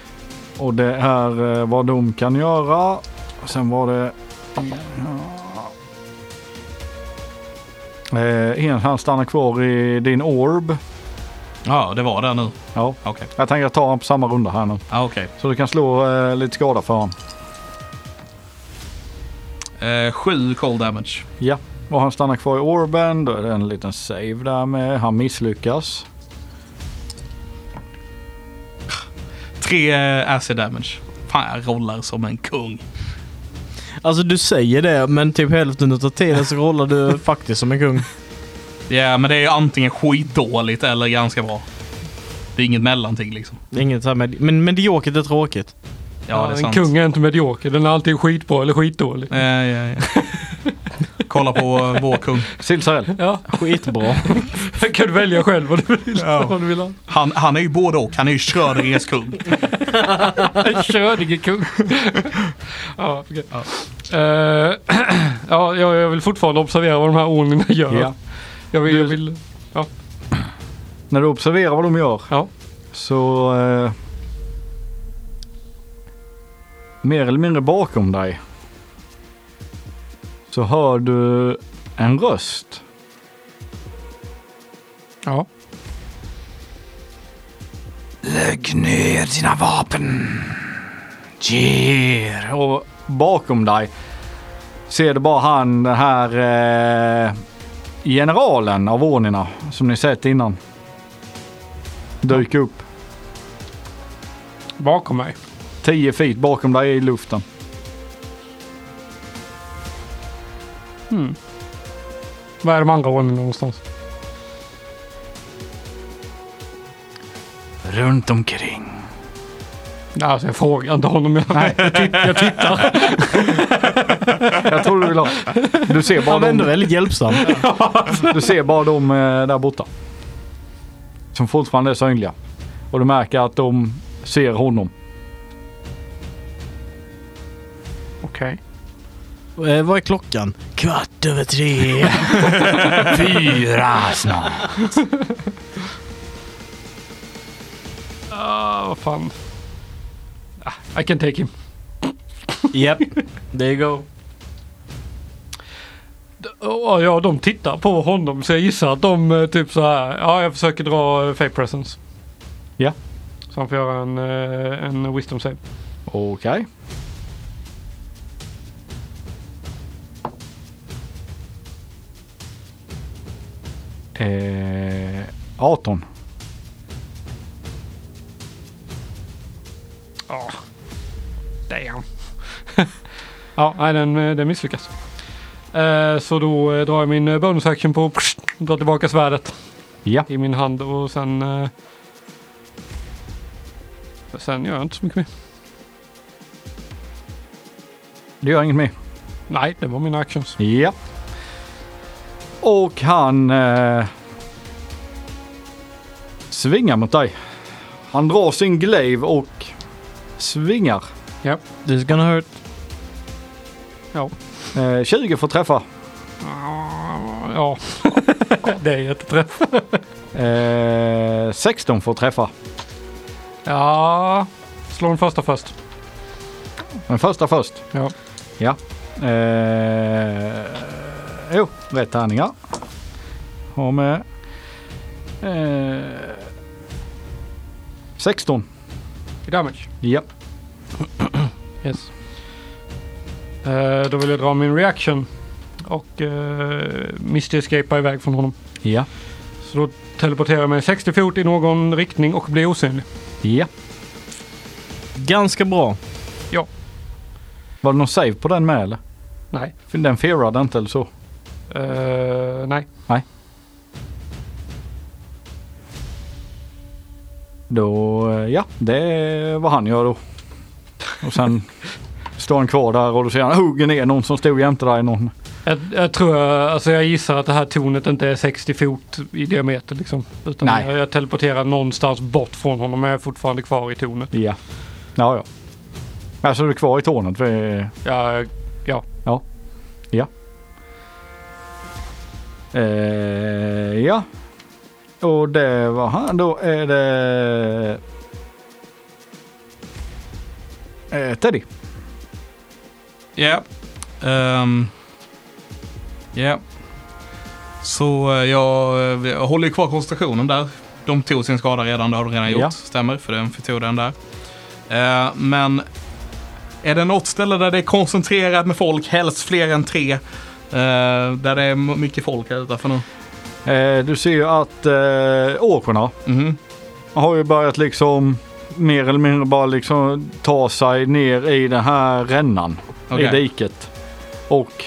D: Och det är eh, vad de kan göra. Sen var det... Eh, en han stannar kvar i din orb.
A: Ja, det var det nu.
D: Ja.
A: Okej.
D: Jag tänker ta honom på samma runda här nu.
A: Ah, okej.
D: Så du kan slå eh, lite skada för honom.
A: Eh, sju cold damage.
D: Ja. Och han stannar kvar i orben. Då är det en liten save där med. Han misslyckas.
A: Tre eh, acid damage. Fan, jag rollar som en kung.
B: Alltså du säger det, men typ hälften av tiden så rollar du faktiskt som en kung.
A: Ja, men det är ju antingen skitdåligt eller ganska bra. Det är inget mellanting liksom.
B: Inget så här med, men mediokert är tråkigt.
A: Ja, det
C: Ja,
A: är
C: en
A: sant.
C: kung är inte medioker. Den är alltid skitbra eller skitdålig.
A: Ja, ja, ja. Kolla på eh, vår kung.
D: Silsarell.
C: Ja,
B: Skitbra.
C: jag kan du välja själv vad du vill. Vad du vill ha.
A: Han, han är ju både och. Han är ju Schrödingers kung.
C: En kördig kung. ja, okej. Eh, ja, jag, jag vill fortfarande observera vad de här ornerna gör.
D: Ja.
C: Jag vill, jag vill,
D: När du observerar vad de gör
C: ja.
D: så... Eh, mer eller mindre bakom dig så hör du en röst.
C: ja.
D: Lägg ner dina vapen. Ger. Och bakom dig ser du bara han, den här eh, generalen av ordnina som ni sett innan. Dyka upp
C: Bakom mig.
D: 10 feet bakom dig i luften.
C: Var är de andra ornerna någonstans?
D: Runt omkring.
C: Nej, Alltså jag frågar inte honom. Jag,
D: Nej.
C: jag, titt, jag tittar.
D: Jag tror du vill ha. Du ser bara
B: Han var ändå
D: dem,
B: väldigt hjälpsam.
D: du ser bara dem eh, där borta. Som fortfarande är synliga. Och du märker att de ser honom.
C: Okej.
B: Eh, vad är klockan? Kvart över tre. Fyra snart.
C: Ah, vad fan. Ah, I can take him.
B: Japp, there you go.
C: Oh, ja, de tittar på honom så jag gissar att de eh, typ så här. Ja, jag försöker dra eh, fake presence.
D: Ja.
C: Så han får göra en, eh, en wisdom save.
D: Okej. Eh, 18.
C: Ja. Damn. ja, nej, den, eh, den misslyckas. Eh, så då eh, drar jag min eh, bonus action på drar tillbaka svärdet
D: Ja.
C: i min hand och sen... Eh, sen gör jag inte så mycket mer.
D: Det gör inget mer.
C: Nej, det var mina actions.
D: Ja. Och han eh, svingar mot dig. Han drar sin glaive och svingar.
B: This is gonna hurt.
D: Eh, 20 får träffa.
C: Ah, Ja, det är jätteträff.
D: Eh, 16 får träffa.
C: Ja, slå den första först.
D: Den första först.
C: Ja.
D: Ja. Eh, jo, rätt tärningar. Har med... Eh, 16.
C: I damage.
D: Ja.
C: Yes. Eh, då vill jag dra min reaction och eh, misty escapea iväg från honom.
D: Ja.
C: Så då teleporterar jag mig 60 fot i någon riktning och blir osynlig.
D: Ja.
B: Ganska bra.
D: Var det någon save på den med eller?
C: Nej.
D: För Den fearade inte eller så?
C: Eh, nej.
D: Då, eh, ja, det är vad han gör då. Och sen står han kvar där och då ser han hugger ner någon som stod jämte dig. Någon.
C: Jag, jag tror jag, alltså jag gissar att det här tornet inte är 60 fot i diameter liksom. Utan
D: Nej.
C: Jag, jag teleporterar någonstans bort från honom men jag är fortfarande kvar i tornet.
D: Ja. Ja, ja. Alltså du är kvar i tornet. För,
C: Jag
D: Eh, ja. Och det var han. Då är det... Eh, Teddy.
A: Ja. Ehm, ja. Så eh, jag, eh, jag håller ju kvar koncentrationen där. De tog sin skada redan, det har de redan gjort.
D: Ja.
A: Stämmer, för den tog den där. Eh, men är det något ställe där det är koncentrerat med folk, helst fler än tre, eh, där det är m- mycket folk här utanför nu?
D: Eh, du ser ju att eh, åkorna
A: Mhm.
D: har ju börjat liksom mer eller mindre bara liksom ta sig ner i den här rännan i
A: Okej.
D: diket. Och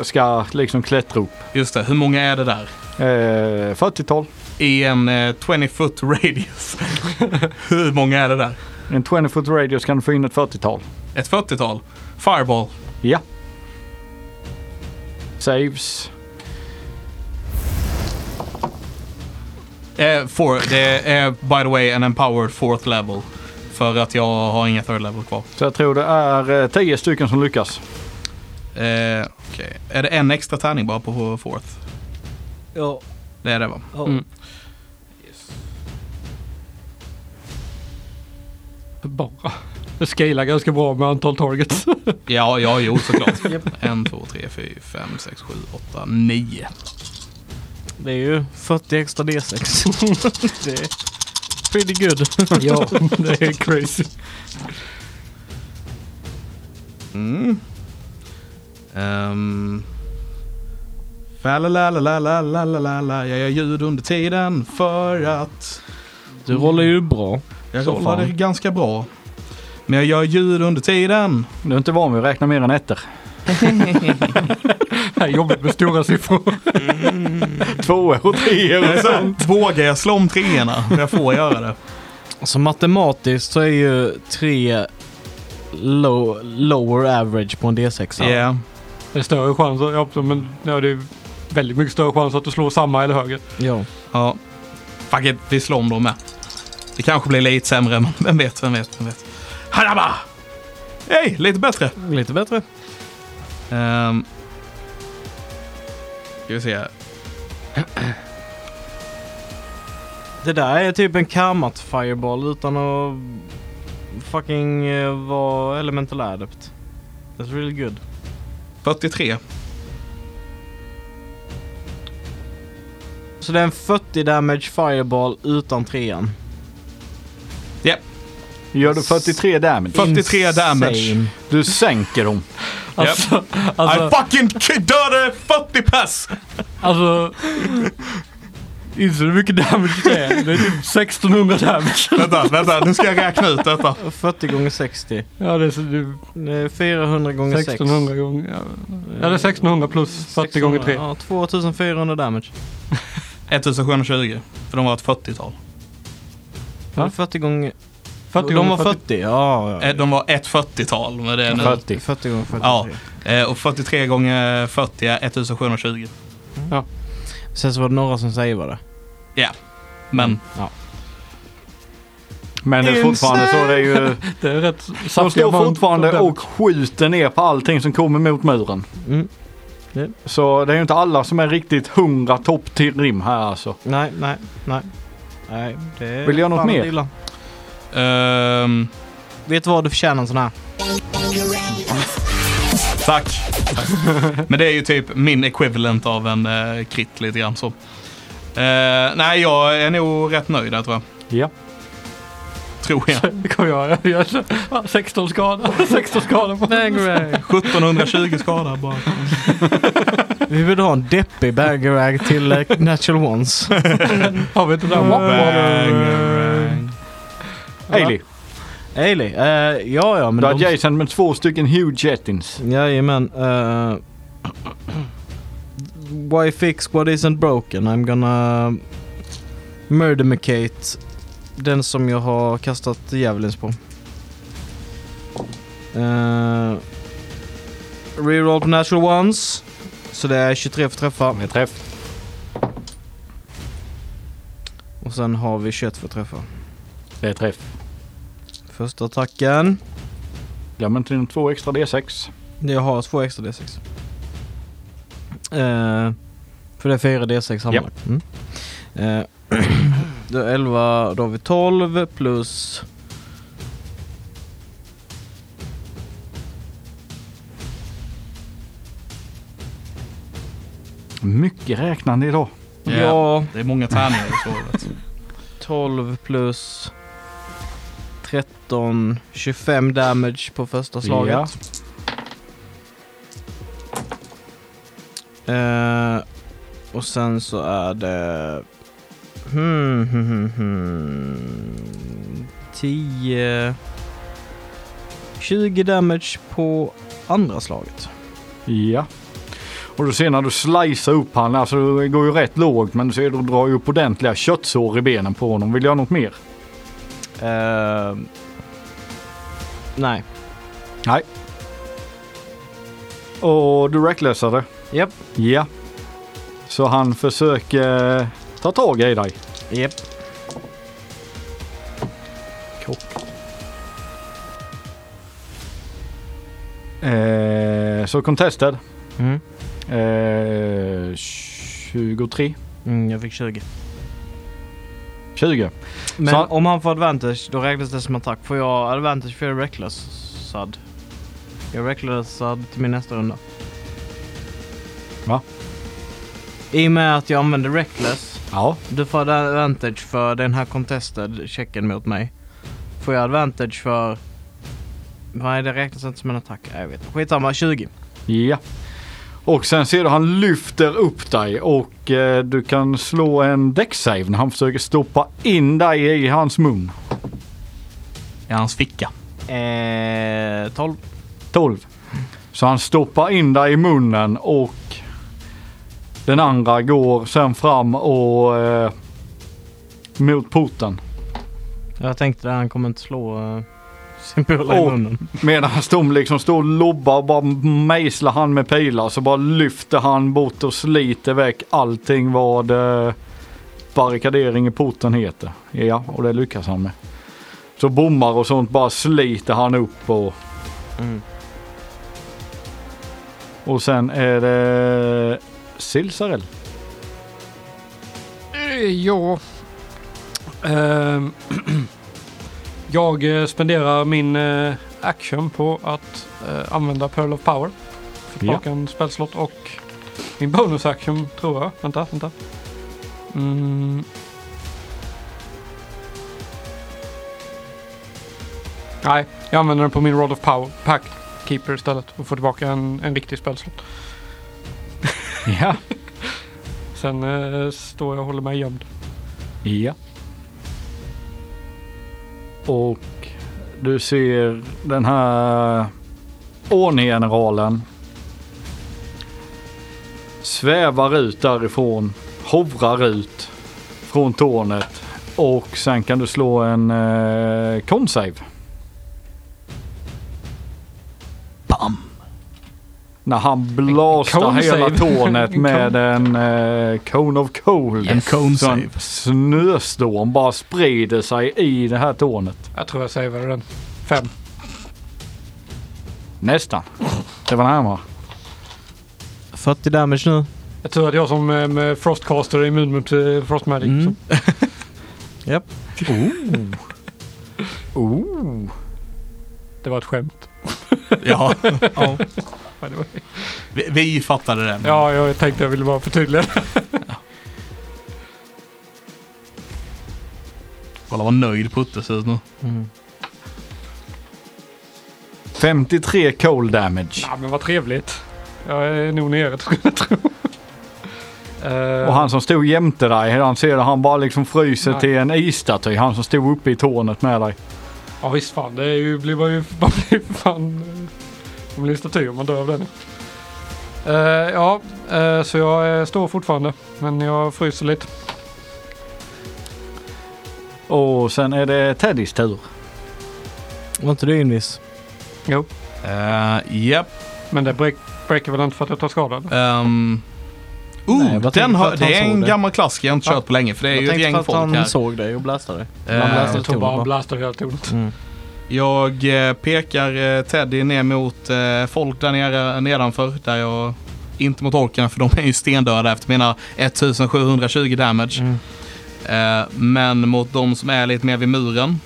D: ska liksom klättra upp.
A: Just det, hur många är det där?
D: Eh, 40-tal.
A: I en eh, 20 foot radius. hur många är det där?
D: I En 20 foot radius kan du få in ett 40-tal.
A: Ett 40-tal? Fireball?
D: Ja. Saves.
A: Eh, four, det är by the way en empowered fourth level. För att jag har inga third level kvar.
D: Så jag tror det är eh, 10 stycken som lyckas.
A: Eh, okej. Är det en extra tärning bara på fourth?
B: Ja.
A: Det är det va?
B: Ja.
C: Mm. bara... Jag scalar ganska bra med antal targets.
A: Ja, ja, jo såklart. En, två, tre, fyra, fem, sex, sju, åtta, nio.
B: Det är ju 40 extra D6. det är pretty good.
C: ja, det är crazy.
A: Mm. Um. la la la la la la la Jag gör ljud under tiden för att
B: Du håller ju bra.
A: jag
B: Så
A: rollade
B: fan.
A: ganska bra. Men jag gör ljud under tiden.
D: Du är inte van vid att räkna mer än ettor.
C: Det är jobbigt med stora siffror.
D: Tvåor och treor och sånt.
A: Vågar jag slå om treorna? Jag får göra det.
B: Alltså matematiskt så är ju tre low, lower average på en D6.
A: Yeah.
C: Det är större chans, ja, absolut, men ja, det är väldigt mycket större chans att du slår samma eller högre.
B: Ja.
A: Ja. Fuck it, vi slår om dem med. Det kanske blir lite sämre, men vem vet, vem vet, vem vet. Haraba! Hej, lite bättre.
B: Lite bättre.
A: Ehm. Ska vi se här.
B: Det där är typ en kammat fireball utan att fucking eh, vara elemental adept. That's really good.
A: 43.
B: Så det är en 40 damage fireball utan trean.
D: Gör du 43 damage?
A: 43 damage.
B: Insane.
D: Du sänker dem.
C: Alltså,
A: I
C: alltså,
A: fucking k- dödade 40 pass!
C: alltså. Inser du hur mycket damage det är? Det är typ 1600 damage.
A: vänta, vänta, nu ska jag räkna ut detta.
B: 40 gånger 60.
C: Ja, det är, så- det är
B: Det är 400 gånger 6.
C: 1600 gånger. Ja, Ja, det är 1600 plus 40 gånger 3.
B: Ja, 2400 damage.
A: 1720, för de var ett 40-tal.
C: Va?
B: Eller 40 gånger...
C: 40
B: de var
C: gånger 40.
B: 40, ja. ja.
A: Eh, De var ett 40-tal med det nu.
D: 40.
B: 40 gånger 40.
A: Ja. Eh, Och 43 gånger 40 är 1720.
B: Sen så var det några som savade.
A: Men
B: Ja.
D: Men det är fortfarande så. Det är ju,
C: Det är rätt
D: de
C: saftiga
D: står
C: band.
D: fortfarande
C: Damage.
D: och skjuter ner på allting som kommer mot muren.
B: Mm.
D: Så det är ju inte alla som är riktigt 100 topp till rim här alltså.
B: Nej, nej, nej. Nej, det är
D: Vill du göra något
B: fan
D: mer?
B: illa.
A: ehm,
B: Vet du vad du förtjänar en sån här?
A: Tack. Men det är ju typ min equivalent av en eh, krit lite grann så. Eh, nej, jag är nog rätt nöjd där tror jag.
D: Ja.
A: Tror jag.
C: Det kommer jag göra. Jag gör så- 16 skada. 16 skada på Bang, bang.
A: 1720 skada bara.
B: Vi vill ha en deppig bagarag till eh, Natural Ones.
C: Har vi inte den?
A: Bangarang.
D: Ailey,
B: Ailey, eh, ja ja men...
D: du har
B: de-
D: Jason med två stycken Hugh Jettins.
B: Jajamän. Uh, why fix what isn't broken? I'm gonna murdermicate den som jag har kastat djävulens på. Uh, reroll på natural ones. Så det är 23 för träffar.
D: Med träff.
B: Och sen har vi 21 för träffar.
D: Det är träff.
B: Första attacken.
D: Glöm inte dina två extra D6.
B: Jag har två extra D6. Eh, för det är fyra D6 sammanlagt. Mm. Eh, då är 11, då har vi 12 plus...
D: Mycket räknande idag.
B: Ja,
A: Det är många tärningar i såret.
B: 12 plus 13, 25 damage på första slaget.
D: Ja.
B: Eh, och sen så är det... Hmm, hmm, hmm, hmm. 10... 20 damage på andra slaget.
D: Ja. Och du ser när du slicear upp han, alltså det går ju rätt lågt men du ser du drar ju upp ordentliga köttsår i benen på honom. Vill du göra något mer?
B: Eh, nej.
D: Och du recklessar det.
B: Japp.
D: Ja. Så han försöker eh, ta tag i dig.
B: Japp.
D: Eh, så contested.
B: Mm.
D: Eh, 23.
B: Mm, jag fick 20.
D: 20.
B: Men
D: Så-
B: om han får advantage, då räknas det som attack. Får jag advantage för jag är recklessad? Jag är recklessad till min nästa runda.
D: Va?
B: I och med att jag använder reckless,
D: Ja.
B: du får advantage för den här contested checken mot mig. Får jag advantage för... Nej, det räknas inte som en attack. Nej, Jag vet Skitsamma, 20.
D: Ja. Och sen ser du han lyfter upp dig och eh, du kan slå en däcksave när han försöker stoppa in dig i hans mun.
A: I hans ficka.
B: Eh, 12.
D: 12. Så han stoppar in dig i munnen och den andra går sen fram och eh, mot porten.
B: Jag tänkte att han kommer inte slå eh, sin polare
D: Och-
B: i munnen.
D: Medan de liksom står och lobbar och bara mejslar han med pilar så bara lyfter han bort och sliter väck allting vad eh, barrikadering i porten heter. Ja, och det lyckas han med. Så bommar och sånt bara sliter han upp och,
B: Mm.
D: Och sen är det Silsarell.
C: Eh, Ja. Ehm, jag eh, spenderar min eh, action på att eh, använda Pearl of Power. Fick
D: Ja.
C: tillbaka en spelslott och min bonus action tror jag. Vänta, vänta. Mm. Nej, jag använder den på min Rod of Power Pack Keeper istället och får tillbaka en, en riktig spelslott.
D: Ja.
C: Sen eh, står jag och håller mig gömd.
D: Ja. Och du ser den här orngeneralen svävar ut därifrån, hovrar ut från tornet och sen kan du slå en eh, consave. Bam! När han blastar
C: consave.
D: hela tornet med en eh, cone of cold.
A: En cone
D: Så
A: save.
D: en snöstorm bara sprider sig i det här tornet.
C: Jag tror jag saveade den. Fem.
D: Nästan. Det var närmare.
B: 40 damage nu.
C: Jag tror att jag som eh, med Frostcaster är immun mot eh, Frost Magic.
B: Mm.
C: så-
B: Japp.
D: Oh.
C: Det var ett skämt.
A: Ja,
B: Ja.
C: by the way.
A: vi, vi fattade det.
C: Ja, jag tänkte jag ville bara förtydliga. det.
A: Kolla vad nöjd Putte ser ut nu.
B: Mm.
D: 53 cold damage.
C: Ja, men vad trevligt. Jag är nog nere skulle jag tro. Eh,
D: Och han som stod jämte dig, han ser det, han bara liksom fryser
C: Nej.
D: till en isstaty. Han som stod uppe i tornet med dig.
C: Ja visst fan, det är ju, blir man ju man blir fan... eh, Man blir en staty om man dör av den. Eh, ja, eh, så jag eh, står fortfarande. Men jag fryser lite.
D: Och sen är det Teddys tur.
B: Var inte du invis?
C: Jo.
A: Eh, Japp.
C: Men det break, breaker väl inte för att jag tar skada? eller?
A: Ehm, oh,
B: Nej, vad
A: den
B: tänkte
A: har,
B: att han
A: det är
B: såg
A: en
B: det?
A: gammal klassiker jag inte
C: Ja.
A: kört på länge för det är ju ett gäng
B: att han
A: folk här.
B: såg dig och blastade dig.
A: Ehm,
B: bläser
C: Jag tog
B: tonen
C: bara
B: bara.
C: blastar hela tonen.
B: Mm.
A: jag eh, pekar eh, Teddy ner mot eh, folk där nere nedanför. Där jag, inte mot orkarna för de är ju stendöda efter mina 1720 damage.
B: Mm.
A: Eh, men mot de som är lite mer vid muren.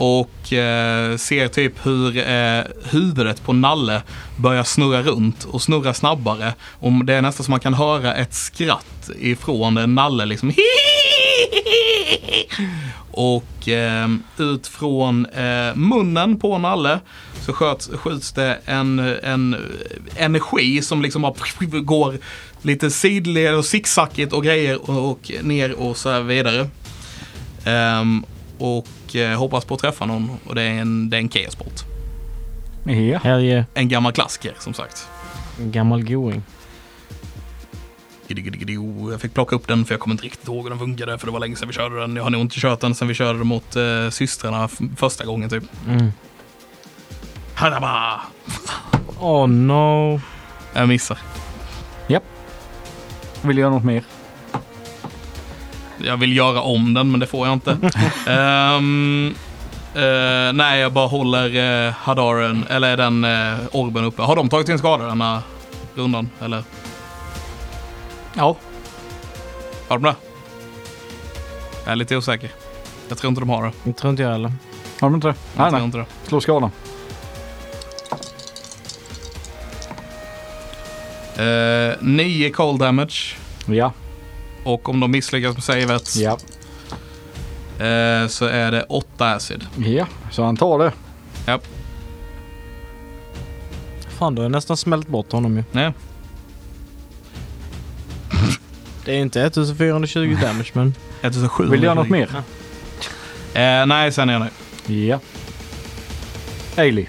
A: Och eh, ser typ hur eh, huvudet på Nalle börjar snurra runt och snurra snabbare. Och det är nästan som man kan höra ett skratt ifrån Nalle liksom. Och eh, ut från eh, munnen på Nalle så sköts, skjuts det en, en energi som liksom bara går lite sidled och zigzackigt och grejer och, och ner och så här vidare. Ehm, och eh, hoppas på att träffa någon och det är en, det är en chaosport.
D: Ja.
B: Helge,
A: En gammal klassiker som sagt.
B: gammal going.
A: Gidigidigidio. Oh, Jag fick plocka upp den för jag kommer inte riktigt ihåg hur den funkade för det var länge sedan vi körde den. Jag har nog inte kört den sedan vi körde den mot eh, systrarna f- första gången typ.
B: Mm.
A: Hadaba!
B: Oh no.
A: Jag missar.
D: Vill du göra något mer?
A: Jag vill göra om den, men det får jag inte. Ehm, eh, nej, jag bara håller uh, Hadaren, eller den eh, orben uppe. Har de tagit sin skada den här rundan? Eller?
D: Ja.
A: Har de det? Jag är lite osäker. Jag tror inte de har det.
B: Det tror inte jag heller.
D: Har de inte det?
A: Jag
D: Nej,
A: tror
D: nej.
A: Inte det.
D: Slå skadan.
A: Eh, nio cold damage.
D: Ja.
A: Och om de misslyckas med savet
D: Ja.
A: eh, så är det åtta acid.
D: Ja. Så han tar det.
B: Fan, du har nästan smält bort honom ju.
A: Nej.
B: Det är inte 1420 damage men...
A: 1700.
D: Vill du göra något mer?
A: Eh, nej, sen är jag nöjd.
D: Ja. Ailey.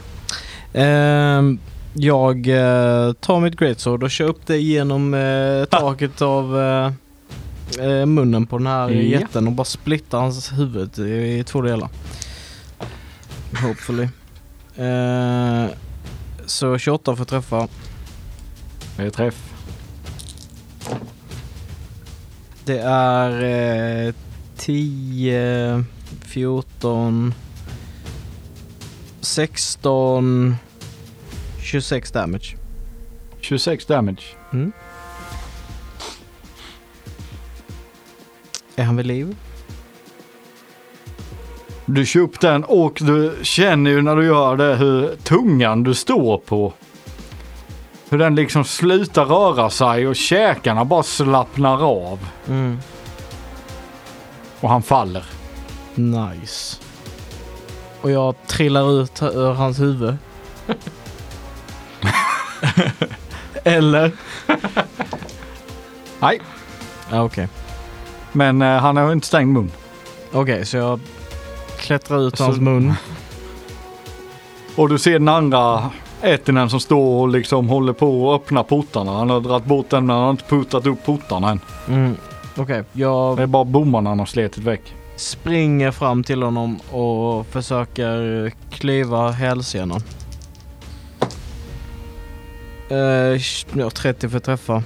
B: Ehm, jag eh, tar mitt greatsword och kör upp det genom eh, taket av eh, eh, munnen på den här
D: Ja.
B: jätten och bara splittar hans huvud i, i två delar. Hopefully. Eh, så 28 för träffa.
D: Det är träff.
B: Det är eh, 10, 14, 16, 26 damage.
D: 26 damage.
B: Är han vid liv?
D: Du kör upp den och du känner ju när du gör det hur tungan du står på. Hur den liksom slutar röra sig och käkarna bara slappnar av.
B: Mm.
D: Och han faller.
B: Nice. Och jag trillar ut ur hans huvud. Eller?
D: Nej,
B: Ja, okej.
D: men eh, han har ju inte stängd mun.
B: Okej, så jag klättrar ut ur
D: Så-
B: hans mun.
D: Och du ser den andra Ettinen som står och liksom håller på att öppna portarna. Han har dragit bort den men han har inte puttat upp portarna än.
B: Mm. Okej,
D: Det
B: jag
D: är bara bommarna han har slitit väck.
B: springer fram till honom och försöker klyva hälsenan. Uh, ja, 30 för träffa.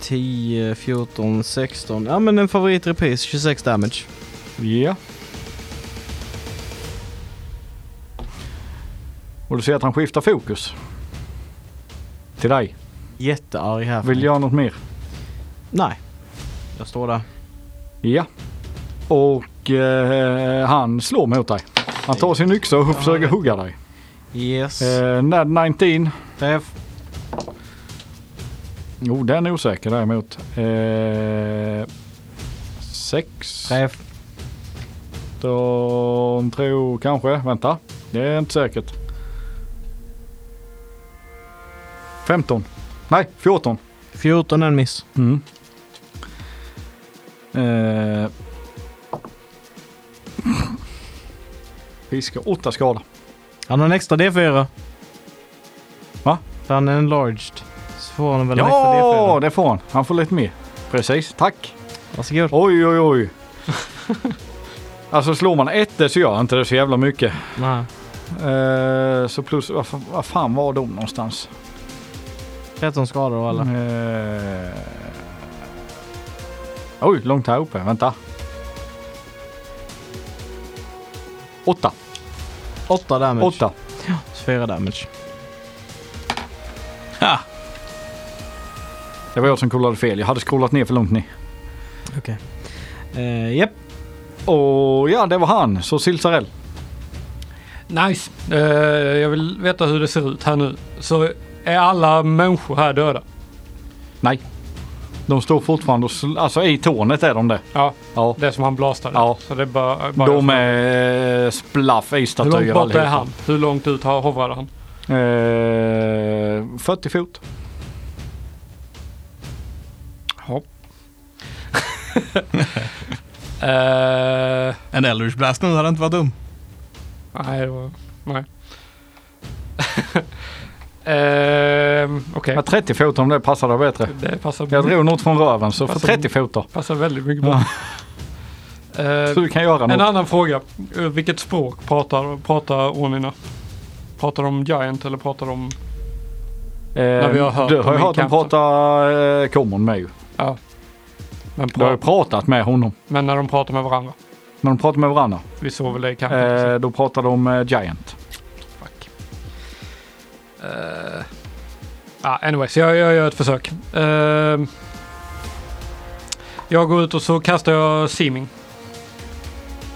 B: Tio, 14, 16. Ja men en favoritrepris, 26 damage.
D: Ja. Och du ser att han skiftar fokus. Till dig.
B: Jättearg här.
D: Vill göra något mer?
B: Nej. Jag står där.
D: Ja. Och eh, han slår mot dig. Han tar sin yxa och försöker hugga dig.
B: Yes.
D: Eh, Nad 19.
B: Träff.
D: Jo, den är osäker däremot. Eh, 6.
B: Träff.
D: 13 tror kanske. Vänta. Det är inte säkert. 15. Nej, 14.
B: 14 en miss.
D: Mm. Eh. Fiskar 8 skada.
B: Han har en extra D4.
D: Va?
B: För han är enlarged. Så får han väl en extra
D: Ja,
B: D4.
D: det får han. Han får lite mer. Precis, tack.
B: Varsågod.
D: Oj, oj, oj. Alltså slår man ettor så gör inte det så jävla mycket.
B: Nej.
D: Eh, så plus, vad fan- vad fan var de någonstans?
B: 13 skador och
D: Mm.
B: alla.
D: Eh, oj, långt här uppe. Vänta. Åtta.
B: 8 damage.
D: Åtta.
B: 4 damage.
D: Det var jag som kollade fel. Jag hade scrollat ner för långt ner.
B: Okej. Eh, Japp.
D: Och ja, det var han. Så Silsarell.
C: Nice. Eh, jag vill veta hur det ser ut här nu. Så är alla människor här döda?
D: Nej. De står fortfarande och sl- alltså i tornet är de det.
C: Ja,
D: Ja.
C: det som han blastade.
D: Ja.
C: Så det är bara, bara
D: De är eh, splaff i
C: Hur
D: statyer
C: långt bort är
D: allihopa.
C: han? Hur långt ut har- hovrade han?
D: Eh, 40 fot.
C: Ja. eh,
A: En Eldritch Blast nu hade inte varit dum.
C: nej, det var... Nej. Ehm, Okej,
D: Ja, 30 fot om det passar dig bättre.
C: det passar,
D: Jag drog något från röven så för
C: Passar-
D: 30 fot då.
C: passar väldigt mycket bra. Eh,
D: Så du kan göra
C: en
D: något.
C: annan fråga. Eh, Vilket språk pratar, pratar Onina? Pratar de Giant eller pratar de...
D: Eh,
C: vi har hört
D: du har
C: om
D: ju hört honom
C: inkanten.
D: prata eh, common med ju.
C: Ja. Men,
D: Du har ju
C: pra-
D: pratat med honom.
C: men när de pratar med varandra.
D: När de pratar med varandra,
C: Vi såg väl det kanske.
D: eh, då pratar de om eh, Giant.
C: Fuck. Eh, ah, anyways, jag, jag gör ett försök. Eh, jag går ut och så kastar jag Seeming.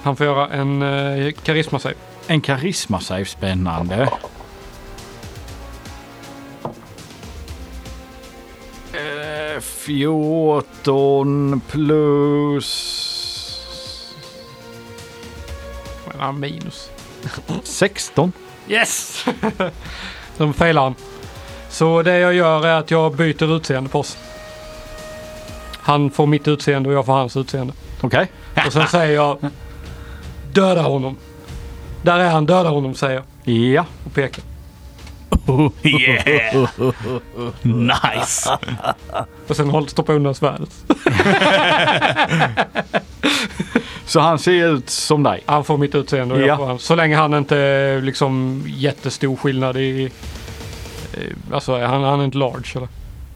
C: Han får göra en uh, karisma save.
D: En karisma save spännande. Eh, 14 plus
C: Men han minus.
D: 16.
C: Yes! De failar han. Så det jag gör är att jag byter utseende på oss. Han får mitt utseende och jag får hans utseende.
D: Okej.
C: Och sen säger jag döda honom. Där är han, döda honom säger jag
D: Ja.
C: och pekar.
A: Yeah! nice!
C: Och sen håll- stoppar jag undan svärdet.
D: Så han ser ut som dig.
C: Han får mitt utseende och
D: Ja.
C: jag får hans. Så länge han inte är liksom jättestor skillnad i... eh, Alltså är han, han är inte large eller?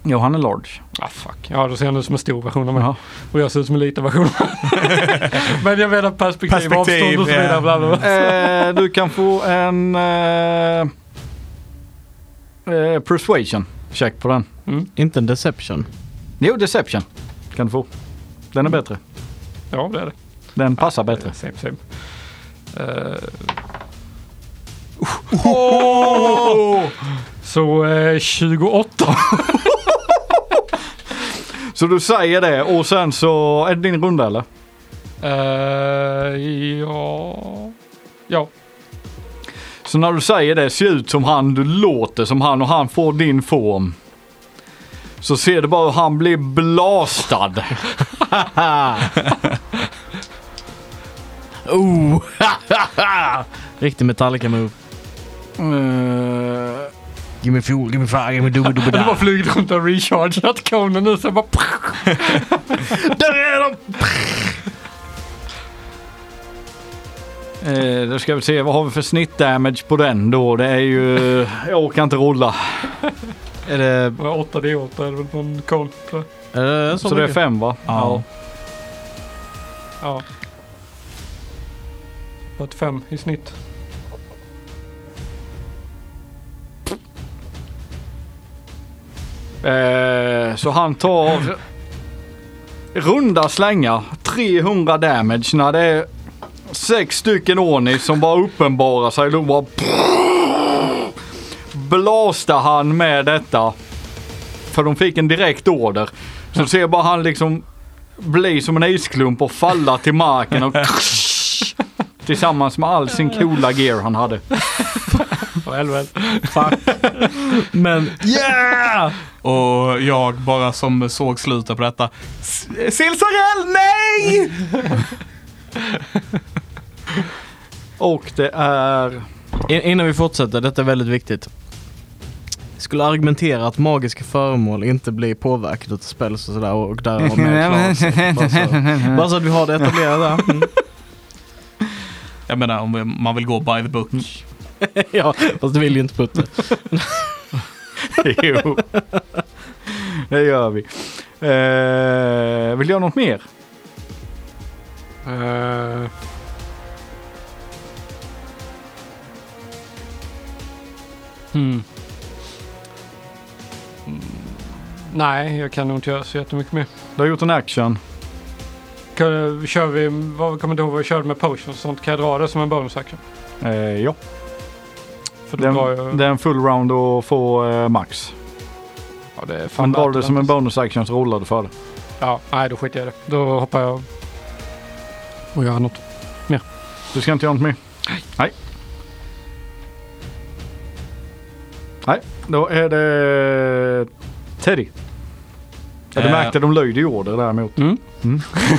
D: Jo, han är large.
C: Ah fuck. Ja, då ser han ut som en stor version av mig.
D: Ja.
C: Och jag ser ut som en liten version av mig. Men jag menar perspektiv,
A: Perspektiv,
C: avstånd och så
A: ja. Mm.
C: vidare. Bla bla bla.
D: Eh, du kan få en eh, eh, persuasion check på den.
B: Inte en deception.
D: Jo, deception kan du få. Den är bättre.
C: Ja, det är det.
D: Den passar bättre.
C: Same, same. Eh, så eh, 28.
D: Så du säger det och sen så är det din runda eller?
C: Eh, ja. Ja.
D: Så när du säger det, ser ut som han, du låter som han och han får din form. Så ser du bara hur han blir blastad.
B: Oh! Riktig Metallica-move.
D: Eh,
B: Give me fuel, give me fire, give me dubba dubba
C: Det var
B: da.
C: flugit runt och rechargeat konen nu så bara...
B: Där är de!
D: Eh, då ska vi se, vad har vi för snittdamage på den då? Det är ju... Jag orkar inte rulla.
B: Är det,
C: 8D8 är det väl på en kon. tror jag.
B: är det
D: Så,
B: Eh, så,
D: det är
B: mycket?
D: fem va?
B: Ja.
C: Ja. 45 i snitt.
D: Eh, så han tar... Runda slängar, 300 damage när det är sex stycken Onis som bara uppenbarar sig. Då bara... Blastar han med detta. För de fick en direkt order. Så ser bara han liksom bli som en isklump och falla till marken och tillsammans med all sin coola gear han hade.
C: Väl, väl.
B: Men yeah!
A: Och jag bara som såg slutet på detta. S- Silsarell, nej!
D: Och det är...
B: In, innan vi fortsätter, detta är väldigt viktigt. Jag skulle argumentera att magiska föremål inte blir påverkade av spells och sådär och därav med klarar sig. bara, så, bara så att vi har det etablerat där. Mm.
A: Jag menar om man vill gå by the
D: Mm.
A: book.
B: Ja, fast det vill ju inte Putte.
D: Jo, det gör vi. Eh, vill jag ha något mer?
C: Eh, Hmm. Mm, Nej, jag kan nog inte göra så jättemycket mer.
D: Du har gjort en action.
C: Kan- Kör vi, vad kommer du ihåg vad vi körde med potions och sånt? Kan jag dra det som en bonus action?
D: Eh, ja,
C: För då
D: den,
C: drar jag...
D: det är en full round och få eh, max.
C: ja, det är fan
D: Men var
C: värt
D: det som en
C: alltså.
D: bonus action så rullar du för det.
C: Ja, nej då skiter jag i det. Då hoppar jag och gör något.
D: Du ska inte göra något mer? Nej. Nej, då är det Teddy. Ja, du
A: Eh.
D: märkte de löjde i order däremot.
C: Mm.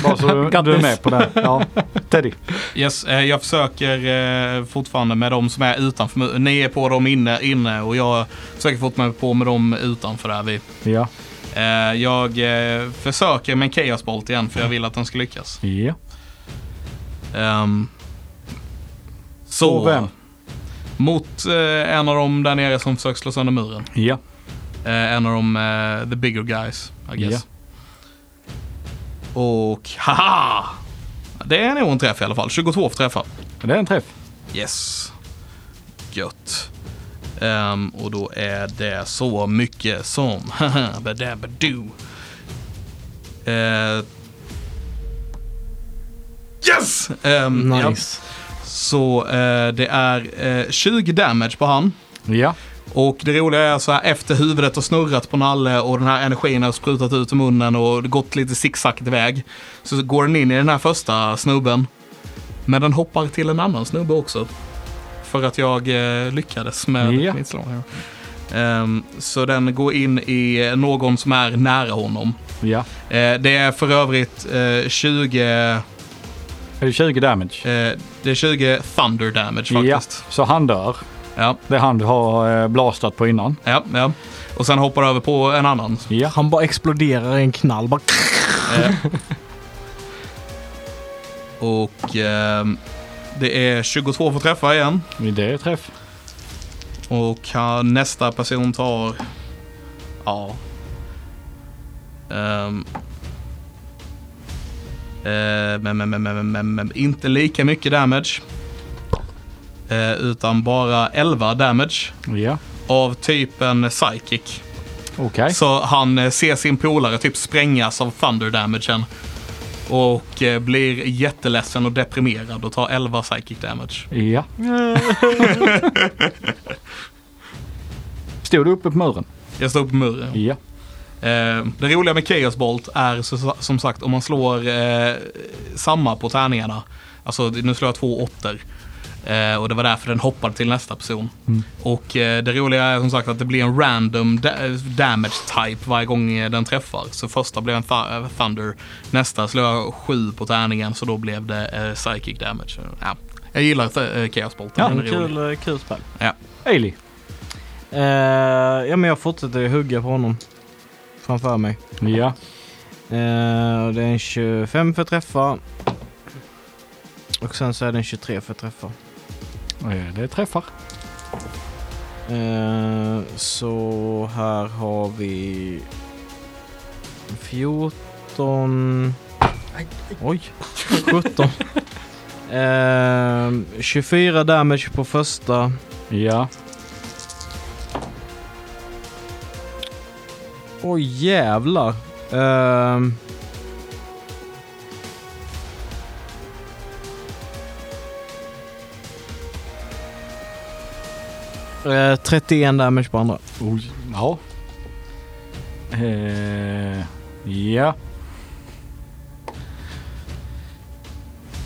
D: Bara så du, du är
C: Grattis.
D: med på det. här. Ja. Teddy.
A: Yes, eh, jag försöker eh, fortfarande med de som är utanför. mu- Ni är på dem inne, inne och jag försöker fortfarande på med dem utanför där vi.
D: Ja.
A: Eh, jag eh, försöker med en Chaos Bolt igen för jag vill att den ska lyckas.
D: Ja.
A: Ehm, så.
D: Och vem?
A: Mot eh, en av dem där nere som försöker slå sönder muren.
D: Ja.
A: Eh, en av dem, eh, the bigger guys, I guess. Och haha! Det är nog en träff i alla fall. 22 för träffar.
D: Det är en träff.
A: Yes. Gött. Ehm, och då är det så mycket som badabadoo. Eh, yes! Ehm, ja.
B: Nice.
A: Så eh, det är eh, 20 damage på han.
D: Ja.
A: Och det roliga är så här efter huvudet har snurrat på Nalle och den här energin har sprutat ut ur munnen och gått lite zigzackt iväg. Så går den in i den här första snubben. Men den hoppar till en annan snubbe också. För att jag eh, lyckades med
D: Ja.
A: mitt slag. här. Ehm, så den går in i någon som är nära honom.
D: Ja.
A: Eh, det är för övrigt eh, 20, eh,
D: Är det 20 damage?
A: det är 20 thunder damage Eh, faktiskt.
D: Ja, så han dör.
A: Ja.
D: Det är han du har eh, blastat på innan.
A: Ja, ja. Och sen hoppar över på en annan.
D: Ja.
B: Han bara exploderar i en knall. Bara...
A: Eh. Och ehm, det är 22 för träffa igen.
D: Det är träff.
A: Och han- nästa person tar... Ja. Ehm. Eh, men, men, men, men, men, men, men inte lika mycket damage. Eh, utan bara 11 damage
D: Ja,
A: av typen psychic.
D: okej.
A: Så han eh, ser sin polare typ sprängas av thunder damagen. Och eh, blir jätteledsen och deprimerad och tar 11 psychic damage.
D: Ja. Stod du uppe på muren?
A: Jag står på muren.
D: Ja.
A: Eh, det roliga med Chaos Bolt är så, som sagt om man slår eh, samma på tärningarna. Alltså nu slår jag två åttor. Eh, och det var därför den hoppade till nästa person.
D: Mm.
A: Och eh, det roliga är som sagt att det blir en random da damage type varje gång eh, den träffar. Så första blev en th- thunder. Nästa slår jag sju på tärningen så då blev det eh, psychic damage. Ja. Jag gillar eh, Chaos Bolt.
B: Ja,
A: Den är
B: en
A: rolig.
B: kul, eh, kul spel.
D: Ailey.
B: Eh, ja, men jag fortsätter hugga på honom. Framför mig.
D: Ja.
B: Eh, och det är en 25 för träffa. Och sen så är det en 23 för träffa.
D: Eh, Det träffar.
B: Eh, så här har vi 14... Oj, 17. Ehm, 24 damage på första.
D: Ja.
B: Oj jävlar. Ehm. Eh, 31 damage på andra.
D: Oj. Ja. Eh, ja.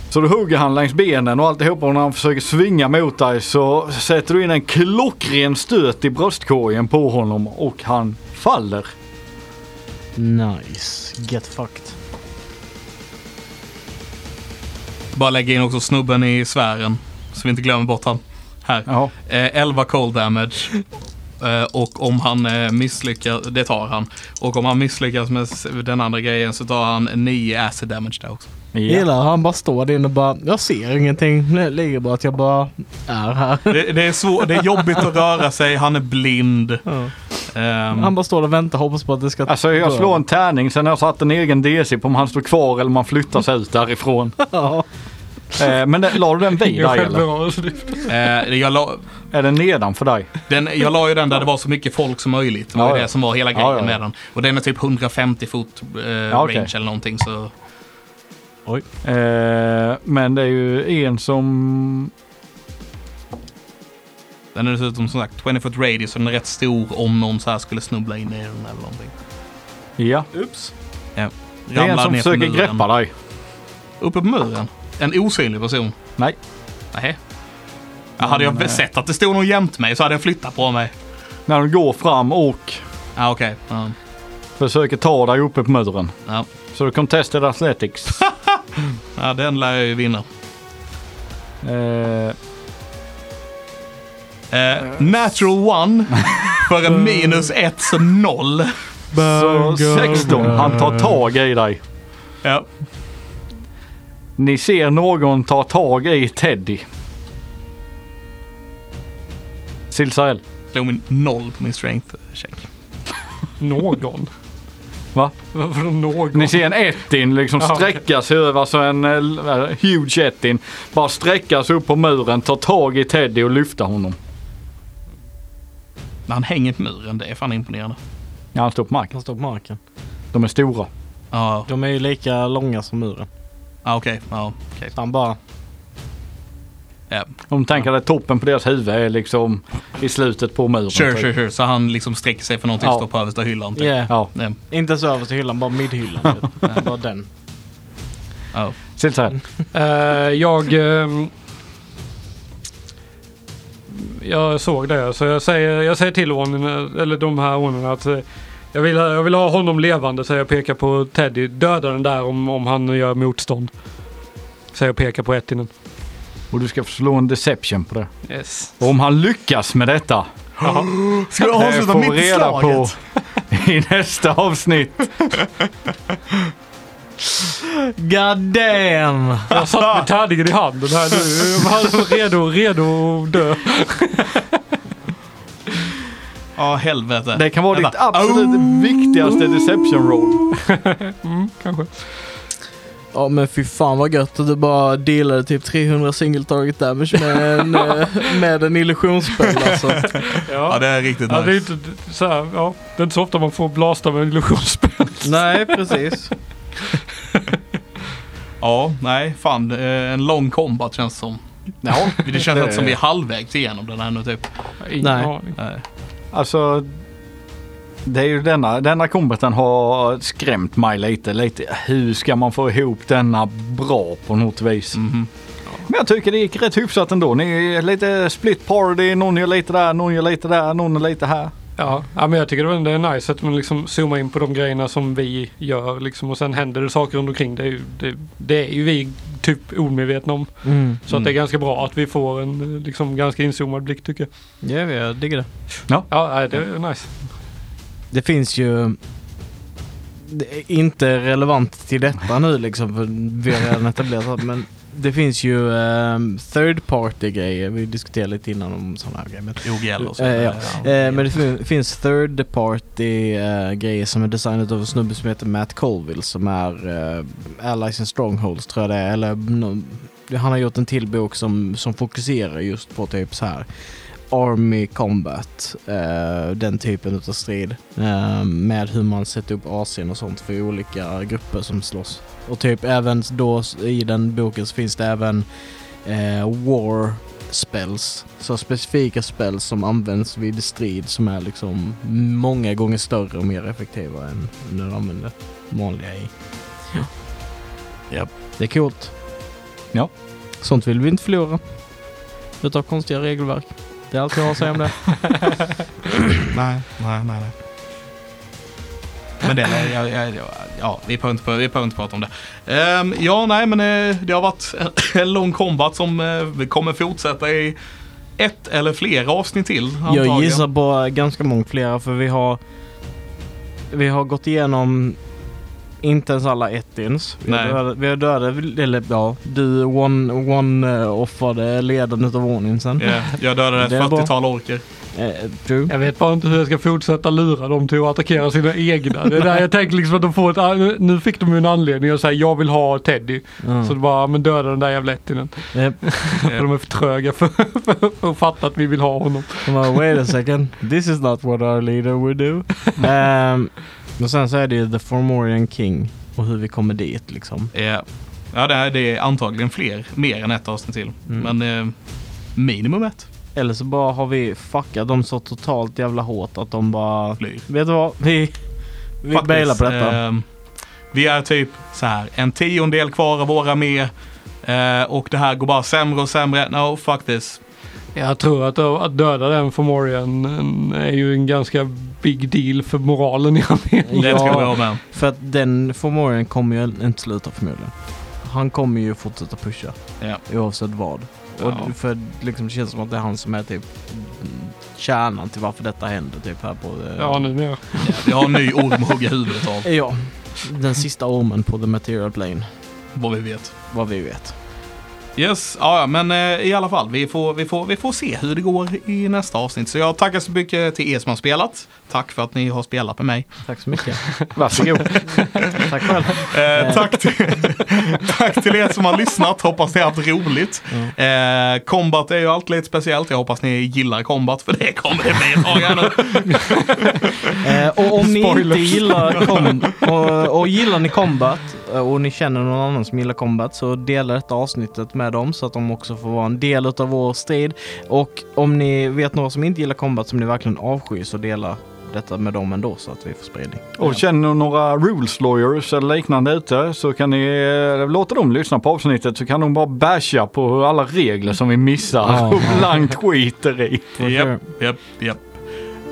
D: Så du hugger han längs benen och alltihopa och när han försöker svinga mot dig så sätter du in en klockren stöt i bröstkorgen på honom och han faller.
B: Nice. Get fucked.
A: Bara lägga in också snubben i sfären. Så vi inte glömmer bort han. Här.
D: Ja.
A: Eh, 11 cold damage. Eh, och om han eh, misslyckas, det tar han. Och om han misslyckas med s- den andra grejen så tar han 9 acid damage där också.
D: ja.
B: Gillar han bara står där inne och bara, jag ser ingenting. Det ligger bara att jag bara är här.
A: Det, det, är, svår, det är jobbigt att röra sig, han är blind. Ehm,
B: Han bara står och väntar hoppas på att det ska...
D: Alltså jag
B: dö.
D: slår en tärning sen har jag satt en egen DC på om han står kvar eller om han flyttas ut därifrån.
B: Ja.
D: Eh, men den- la du den vid
C: Ingen
D: dig eller?
C: självbevarelse. det-
A: eh, jag, la,
D: Är den nedanför dig?
A: den, jag la ju den där det var så mycket folk som möjligt. Det var
D: Ja,
A: ju
D: ja.
A: det som var hela grejen
D: Ja, ja, ja.
A: med den. Och den är typ 150 fot eh,
D: okej.
A: range eller någonting. Så.
D: Eh, men det är ju en som...
A: Den är dessutom som sagt 20 foot radius så den är rätt stor om någon så här skulle snubbla in i den eller någonting.
D: Ja.
B: Ups.
D: Det är en
A: Ramlar
D: som
A: ner från
D: försöker
A: muren.
D: greppa dig.
A: Uppe på muren? En osynlig person?
D: Nej.
A: Nej. Ja, hade jag sett att det stod någon jämt mig så hade jag flyttat på mig.
D: När de går fram och
A: Ja, okej. Ja.
D: försöker ta dig uppe på muren.
A: Ja.
D: Så du contested athletics.
A: ja, den lär jag ju vinna.
D: eh,
A: Eh, natural one för en minus ett, så noll.
D: så 16, han tar tag i dig.
A: Ja.
D: Ni ser någon ta tag i Teddy. Silsael.
A: Slog min noll på min strength check.
C: Någon.
D: Va?
C: Varför någon?
D: Ni ser en ettin liksom
C: Ja, okej.
D: sträcka sig över, alltså en eh, huge ettin. Bara sträcka sig upp på muren, ta tag i Teddy och lyfta honom.
A: Men han hänger på muren, det är fan imponerande.
D: Ja, han står på marken.
B: Han står på marken.
D: De är stora.
A: Ja,
B: De är ju lika långa som muren.
A: ja okej. Ja, okej.
B: Så han bara...
A: Ja.
D: Om du tänker att toppen på deras huvud är liksom i slutet på muren.
A: Sure,
D: typ.
A: sure, sure. Så han liksom sträcker sig för någonting
D: Ja.
A: som står på översta hyllan. Typ.
B: Yeah.
D: Ja,
A: Ja.
B: Inte ens översta hyllan, bara midhyllan. vet du. bara den.
A: Ja. Mm.
D: Silsael.
C: Eh, jag... ehm, jag såg det, så jag säger, jag säger till honom, eller de här honorna att eh, jag vill, ha- jag vill ha honom levande, så jag pekar på Teddy. Döda den där om, om han gör motstånd. Så jag pekar på ettinen.
D: Och du ska få slå en deception på det.
C: Yes.
D: Och om han lyckas med detta.
A: Ska du
D: eh, får vi reda på i nästa avsnitt.
B: God damn!
C: Jag satt med tärningen i handen här nu. Han var redo, redo att dö.
A: Ja, helvete.
D: Det kan vara
A: Jag
D: ditt
A: bara,
D: absolut viktigaste deception roll.
C: Kanske.
B: Ja men fy fan vad gött att du bara delade typ 300 single target damage med en, eh, med en illusionsspel alltså.
A: Ja,
C: Ja.
A: det är riktigt
C: Ja, det, är
A: nice.
C: inte, så här, ja, det är inte så ofta man får blasta med en illusionsspel.
B: Nej precis.
A: Ja, nej, fan. eh, En lång combat känns som.
D: Ja,
A: Det känns
D: det-
A: inte som vi är halvvägs igenom den här nu typ. Eh,
C: Ingen
B: Nej.
C: aning.
A: Nej.
D: Alltså, det är ju denna, denna kombaten har skrämt mig lite, lite. Hur ska man få ihop denna bra på något vis?
A: Mhm.
D: Men jag tycker det gick rätt hyfsat ändå. Ni är lite split party, någon gör lite där, någon gör lite där, någon är lite här.
C: Ja, ja, men jag tycker det var- det är nice att man liksom zoomar in på de grejerna som vi gör liksom, och sen händer det saker runt omkring. Det är ju, det, det är ju vi typ omedvetna om.
B: Mm.
C: Så att det är ganska bra att vi får en eh, liksom, ganska inzoomad blick tycker jag.
B: Ja jag digger det.
C: Ja, nej, det är nice.
B: Det finns ju det är inte relevant till detta nu liksom för vi har redan etablerat det, men det finns ju ehm, third party grejer. Vi diskuterade lite innan om sådana här grejer. Men
A: OGL och så.
B: Eh, ja.
A: alltså. Ja.
B: Eh, men det fin- finns third party eh, grejer som är designat av en snubbe som heter Matt Colville som är eh, Allies and Strongholds tror jag det är. Eller, nå- han har gjort en till bok som, som fokuserar just på typ så här Army Combat, eh, den typen utav strid. Eh, med hur man sätter upp AC'n och sånt för olika grupper som slåss. Och typ även då s- i den boken så finns det även eh, War spells. Så specifika spells som används vid strid som är liksom många gånger större och mer effektiva än när du använder vanliga i. Ja. Det är coolt.
D: Ja.
B: Sånt vill vi inte förlora. Utav konstiga regelverk. Det är allt jag har att säga om det.
A: Nej, nej, nej. nej. Men det, nej, jag, jag, jag, ja, vi behöver inte, vi behöver inte prata om det. Ehm, ja, nej, men eh, det har varit en lång combat som eh, kommer fortsätta i ett eller flera avsnitt till.
B: Jag
A: antagligen.
B: gissar på ganska många flera för vi har vi har gått igenom inte ens alla ettins. Vi har
A: Nej.
B: dödat- vi har dödat, eller ja, du one-offade one, eh, offade ledaren utav ordningsen.
A: Ja, jag dödade
B: Det är
A: ett
B: bra.
A: 40-tal orker.
B: Eh, true.
C: Jag vet bara inte hur jag ska fortsätta lura dem till att attackera sina egna. Det är där jag tänker liksom att de får ett, ah, nu- nu fick de ju en anledning att säga jag vill ha Teddy.
B: Ja.
C: Så det bara, men döda den där jävla ettinen.
B: Yep.
C: För de är för tröga för, för, för att fatta att vi vill ha honom.
B: De bara, wait a second, this is not what our leader would do. Ehm, och sen så är det ju The Formorian King och hur vi kommer dit liksom.
A: Ja, Eh, ja det, är, det är antagligen fler, mer än ett avsnitt till.
B: Mm.
A: Men eh, minimum ett
B: Eller så bara har vi fuckat dem så totalt jävla hårt att de bara,
A: flyr.
B: vet du vad, vi, vi
A: Faktiskt,
B: bailar på detta.
A: ehm, vi är typ så här en tiondel kvar av vår armé eh, och det här går bara sämre och sämre. No, fuck this.
C: Jag tror att, att döda den Fomorian är ju en ganska big deal för moralen i armén.
A: Det
B: Ja.
A: tror jag med.
B: För att den Formorian kommer ju inte sluta förmodligen. Han kommer ju fortsätta pusha.
A: Ja.
B: Oavsett vad.
A: Ja.
B: Och för liksom, det känns som att det är han som är typ mm, kärnan till varför detta händer typ här på... eh,
C: Ja, numera.
A: Ja, Vi har en ny orm att hugga huvudet av,
B: Ja, den sista ormen på The Material Plane,
A: vad vi vet.
B: vad vi vet.
A: Yes, ja, ja, men eh, i alla fall, vi får, vi, får, vi får se hur det går i nästa avsnitt. Så jag tackar så mycket till er som har spelat. Tack för att ni har spelat med mig.
B: Tack så mycket.
D: Varsågod.
B: Tack själv.
A: Eh, tack, till, tack till er som har lyssnat, hoppas ni har haft roligt. Eh, combat är ju alltid lite speciellt, jag hoppas ni gillar combat för det kommer det bli ett tag här nu.
B: Eh, och om ni inte
C: Spoilers.
B: gillar kom och, och gillar ni combat eh, och ni känner någon annan som gillar combat så dela detta avsnittet med dem så att de också får vara en del av vår strid. Och om ni vet några som inte gillar combat som ni verkligen avskyr så dela detta med dem ändå så att vi får spridning.
D: Och känner några rules lawyers eller liknande ute så kan ni eh, låta dem lyssna på avsnittet så kan de bara basha på hur alla regler som vi missar
B: Ja.
D: och blankt skiter i.
B: For sure.
A: Japp, japp, japp.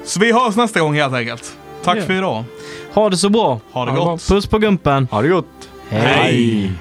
A: Så vi hörs nästa gång helt enkelt. Tack
B: Ja.
A: för idag,
B: Ha det så bra!
A: ha det
C: Ha det
A: gott.
C: bra.
B: Puss på gumpen!
D: Ha det gott!
A: Hej.